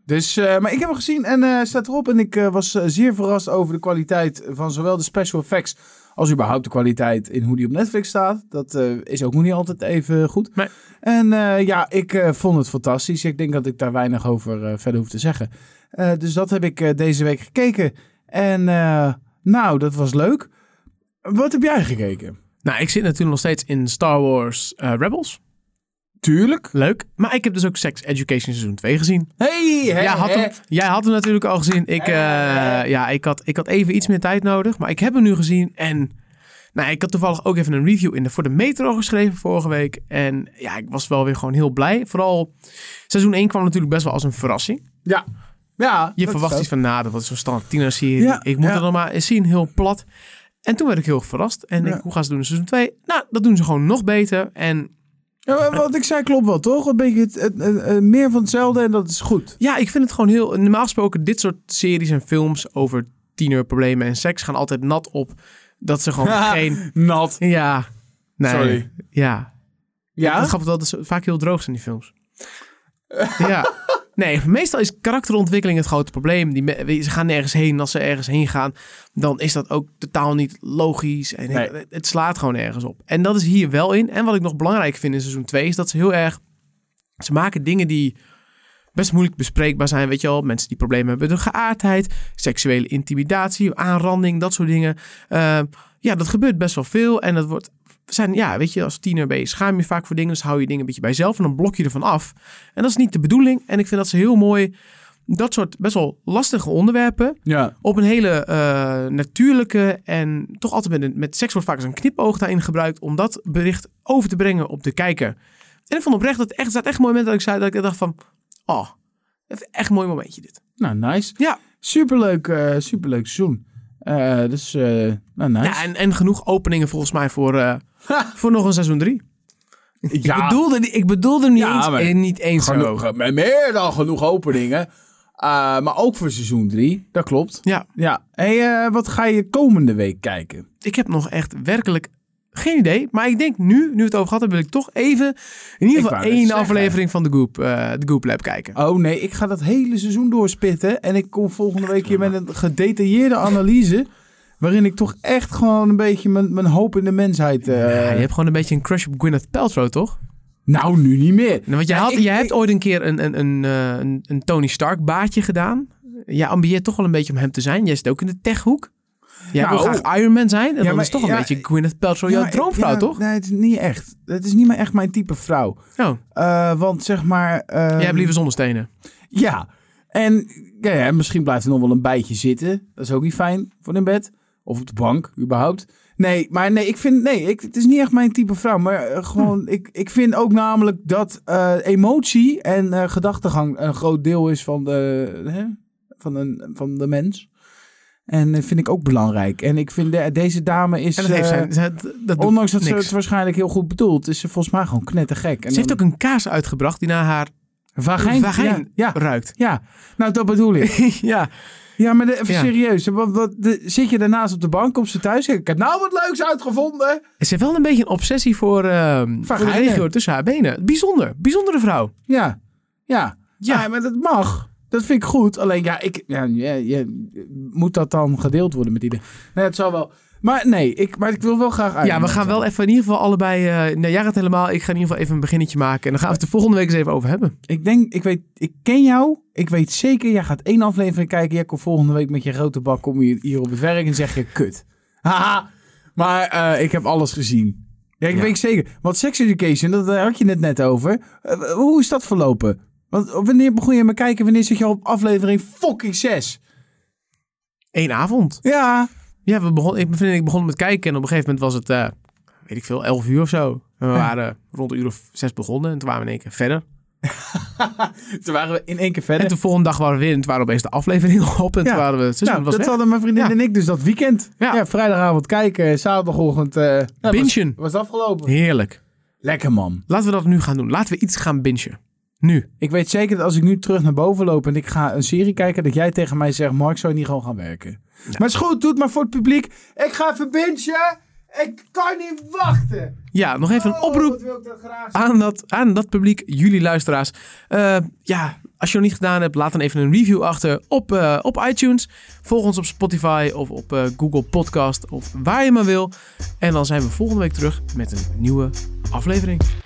Speaker 2: Dus, eh, maar ik heb hem gezien en eh, staat erop. En ik eh, was eh, zeer verrast over de kwaliteit van zowel de special effects. als überhaupt de kwaliteit in hoe die op Netflix staat. Dat eh, is ook nog niet altijd even goed.
Speaker 1: Nee.
Speaker 2: En eh, ja, ik eh, vond het fantastisch. Ik denk dat ik daar weinig over eh, verder hoef te zeggen. Eh, dus dat heb ik eh, deze week gekeken. En eh, nou, dat was leuk. Wat heb jij gekeken?
Speaker 1: Nou, ik zit natuurlijk nog steeds in Star Wars eh, Rebels.
Speaker 2: Tuurlijk.
Speaker 1: Leuk. Maar ik heb dus ook Sex Education seizoen 2 gezien.
Speaker 2: Hey, hey,
Speaker 1: Jij had,
Speaker 2: hey.
Speaker 1: hem, jij had hem natuurlijk al gezien. Ik, eh, ja, ik, had, ik had even iets meer tijd nodig. Maar ik heb hem nu gezien. En nou, ik had toevallig ook even een review in de, voor de Metro geschreven vorige week. En ja, ik was wel weer gewoon heel blij. Vooral seizoen 1 kwam natuurlijk best wel als een verrassing.
Speaker 2: Ja. Ja.
Speaker 1: Je
Speaker 2: dat
Speaker 1: verwacht
Speaker 2: is
Speaker 1: iets van, nou, dat was zo'n standaard tienerserie.
Speaker 2: Ja,
Speaker 1: ik moet
Speaker 2: ja.
Speaker 1: het nog maar eens zien, heel plat. En toen werd ik heel erg verrast. En
Speaker 2: Ja.
Speaker 1: ik, hoe gaan ze doen in seizoen 2? Nou, dat doen ze gewoon nog beter. En
Speaker 2: zo. Ja, maar wat ik zei klopt wel, toch? Een beetje het, het- het- het- meer van hetzelfde en dat is goed.
Speaker 1: Ja, ik vind het gewoon heel... Normaal gesproken, dit soort series en films over tienerproblemen en seks gaan altijd nat op. Dat ze gewoon geen...
Speaker 2: Nat.
Speaker 1: Ja. Nee.
Speaker 2: Sorry.
Speaker 1: Ja.
Speaker 2: Ja?
Speaker 1: Het grappige is wel dat ze vaak heel droog zijn, die films. ja. Nee, meestal is karakterontwikkeling het grote probleem. Die me- we- ze gaan nergens heen. Als ze ergens heen gaan, dan is dat ook totaal niet logisch. En
Speaker 2: Nee.
Speaker 1: het, het slaat gewoon ergens op. En dat is hier wel in. En wat ik nog belangrijk vind in seizoen 2 is dat ze heel erg... Ze maken dingen die best moeilijk bespreekbaar zijn, weet je wel. Mensen die problemen hebben met hun geaardheid, seksuele intimidatie, aanranding, dat soort dingen. Eh, ja, dat gebeurt best wel veel. En dat wordt, zijn, ja, weet je, als tiener ben je schaam je vaak voor dingen. Dus hou je dingen een beetje bij jezelf en dan blok je ervan af. En dat is niet de bedoeling. En ik vind dat ze heel mooi dat soort best wel lastige onderwerpen
Speaker 2: Ja.
Speaker 1: op een hele eh, natuurlijke en toch altijd met, een- met seks wordt vaak als een knipoog daarin gebruikt om dat bericht over te brengen op de kijker. En ik vond oprecht dat het echt, staat echt een mooi moment dat ik zei dat ik dacht van, oh, echt een mooi momentje dit.
Speaker 2: Nou, nice.
Speaker 1: Ja.
Speaker 2: Superleuk, eh superleuk seizoen. Eh, dus, eh, nou, nice.
Speaker 1: Ja, en, en genoeg openingen volgens mij voor, eh,
Speaker 2: Ha.
Speaker 1: voor nog een seizoen drie.
Speaker 2: Ja.
Speaker 1: Ik bedoelde, die- ik bedoelde niet,
Speaker 2: Ja,
Speaker 1: eens-
Speaker 2: maar-
Speaker 1: eh, niet eens zo.
Speaker 2: Genoeg, met meer dan genoeg openingen. Eh, maar ook voor seizoen 3. Dat klopt.
Speaker 1: Ja,
Speaker 2: Ja. Hey, eh, wat ga je komende week kijken?
Speaker 1: ik heb nog echt werkelijk geen idee. Maar ik denk nu, nu we het over gehad hebben, wil ik toch even in
Speaker 2: Ik
Speaker 1: ieder
Speaker 2: wou
Speaker 1: geval
Speaker 2: net
Speaker 1: één
Speaker 2: zeggen.
Speaker 1: aflevering van de Goop, eh, de Goop Lab kijken.
Speaker 2: Oh nee, ik ga dat hele seizoen doorspitten. En ik kom volgende week hier met een gedetailleerde analyse. Waarin ik toch echt gewoon een beetje mijn, mijn hoop in de mensheid. eh,
Speaker 1: Ja, je hebt gewoon een beetje een crush op Gwyneth Paltrow, toch?
Speaker 2: Nou, nu niet meer.
Speaker 1: Nou, Want je, had,
Speaker 2: ik-
Speaker 1: je hebt ooit een keer een, een, een, eh, een, een Tony Stark baadje gedaan. Jij ambieert toch wel een beetje om hem te zijn. Jij zit ook in de techhoek. Jij
Speaker 2: Nou,
Speaker 1: wil graag Iron Man zijn. En dan
Speaker 2: maar-
Speaker 1: is toch een
Speaker 2: ja,
Speaker 1: beetje Gwyneth Paltrow Nou, jouw
Speaker 2: Ja,
Speaker 1: droomvrouw,
Speaker 2: ja,
Speaker 1: toch?
Speaker 2: Nee, het is niet echt. Het is niet meer echt mijn type vrouw.
Speaker 1: Oh,
Speaker 2: Eh, want zeg maar... ehm,
Speaker 1: jij hebt liever zonnestenen.
Speaker 2: Ja. En ja, ja, misschien blijft er nog wel een bijtje zitten. Dat is ook niet fijn voor in bed. Of op de bank, überhaupt. Nee, maar nee, ik vind... Nee, ik, het is niet echt mijn type vrouw. Maar eh, gewoon...
Speaker 1: Hm.
Speaker 2: Ik, ik vind ook namelijk dat eh, emotie en eh, gedachtegang een groot deel is van de... Hè, van, een, van de mens. En dat vind ik ook belangrijk. En ik vind de- deze dame is...
Speaker 1: En dat heeft
Speaker 2: eh,
Speaker 1: zijn, dat, dat doet
Speaker 2: Ondanks dat ze
Speaker 1: niks.
Speaker 2: het waarschijnlijk heel goed bedoelt, is ze volgens mij gewoon knettergek. En
Speaker 1: Ze heeft
Speaker 2: dan-
Speaker 1: ook een kaas uitgebracht die naar haar
Speaker 2: vagijn.
Speaker 1: vagijn
Speaker 2: Ja, ja,
Speaker 1: ruikt.
Speaker 2: ja. nou dat bedoel ik.
Speaker 1: ja.
Speaker 2: Ja, maar de- even
Speaker 1: Ja.
Speaker 2: serieus. Wat, wat, de- zit je daarnaast op de bank, komt ze thuis? Ik heb nou wat leuks uitgevonden.
Speaker 1: Ze heeft wel een beetje een obsessie voor, ehm voor de
Speaker 2: Vagijnen.
Speaker 1: regio tussen haar benen. Bijzonder. Bijzondere vrouw.
Speaker 2: Ja, ja.
Speaker 1: Ja.
Speaker 2: Ja, maar dat mag. Dat vind ik goed. Alleen ja, ik, ja, ja, ja, moet dat dan gedeeld worden met iedereen? Nee, het zal wel. Maar nee, ik, maar ik wil wel graag uit.
Speaker 1: Ja, we gaan wel even in ieder geval allebei. eh nou, jij gaat helemaal. Ik ga in ieder geval even een beginnetje maken. En dan gaan we het de volgende week eens even over hebben.
Speaker 2: Ik denk, ik weet, ik ken jou. Ik weet zeker, jij gaat één aflevering kijken. Jij komt volgende week met je grote bak kom je hier op het werk en zeg je kut. Haha. Maar eh, ik heb alles gezien. Ja, ik
Speaker 1: Ja.
Speaker 2: weet zeker. Want Sex Education, dat, daar had je het net over. Eh, hoe is dat verlopen? Want wanneer begon je met kijken? Wanneer zit je al op aflevering fucking 6?
Speaker 1: Eén avond.
Speaker 2: Ja.
Speaker 1: Ja, we begon, ik, mijn vriendin en ik begonnen met kijken. En op een gegeven moment was het, eh, weet ik veel, 11 uur of zo. En we
Speaker 2: Ah.
Speaker 1: waren rond een uur of zes begonnen. En toen waren we in één keer verder.
Speaker 2: Toen waren we in één keer verder.
Speaker 1: En de volgende dag waren we weer. En toen waren opeens de afleveringen op. En toen
Speaker 2: Ja.
Speaker 1: waren we. het seizoen
Speaker 2: nou,
Speaker 1: was
Speaker 2: dat
Speaker 1: weg.
Speaker 2: hadden mijn vriendin
Speaker 1: Ja.
Speaker 2: en ik dus dat weekend. Ja,
Speaker 1: Ja.
Speaker 2: vrijdagavond kijken, zaterdagochtend. eh nou, was-
Speaker 1: Bingen.
Speaker 2: Was, afgelopen.
Speaker 1: Heerlijk.
Speaker 2: Lekker man.
Speaker 1: Laten we dat nu gaan doen. Laten we iets gaan bingen. Nu.
Speaker 2: Ik weet zeker dat als ik nu terug naar boven loop en ik ga een serie kijken, dat jij tegen mij zegt: Mark, zou je niet gewoon gaan werken? Maar het is goed, doe het maar voor het publiek. Ik ga verbintje. Ik kan niet wachten. Oh,
Speaker 1: Ja, nog even een oproep.
Speaker 2: wat wil ik dat graag zien.
Speaker 1: aan dat, aan dat publiek, jullie luisteraars. Eh, ja, als je nog niet gedaan hebt, laat dan even een review achter op, eh, op iTunes. Volg ons op Spotify of op eh, Google Podcast of waar je maar wil. En dan zijn we volgende week terug met een nieuwe aflevering.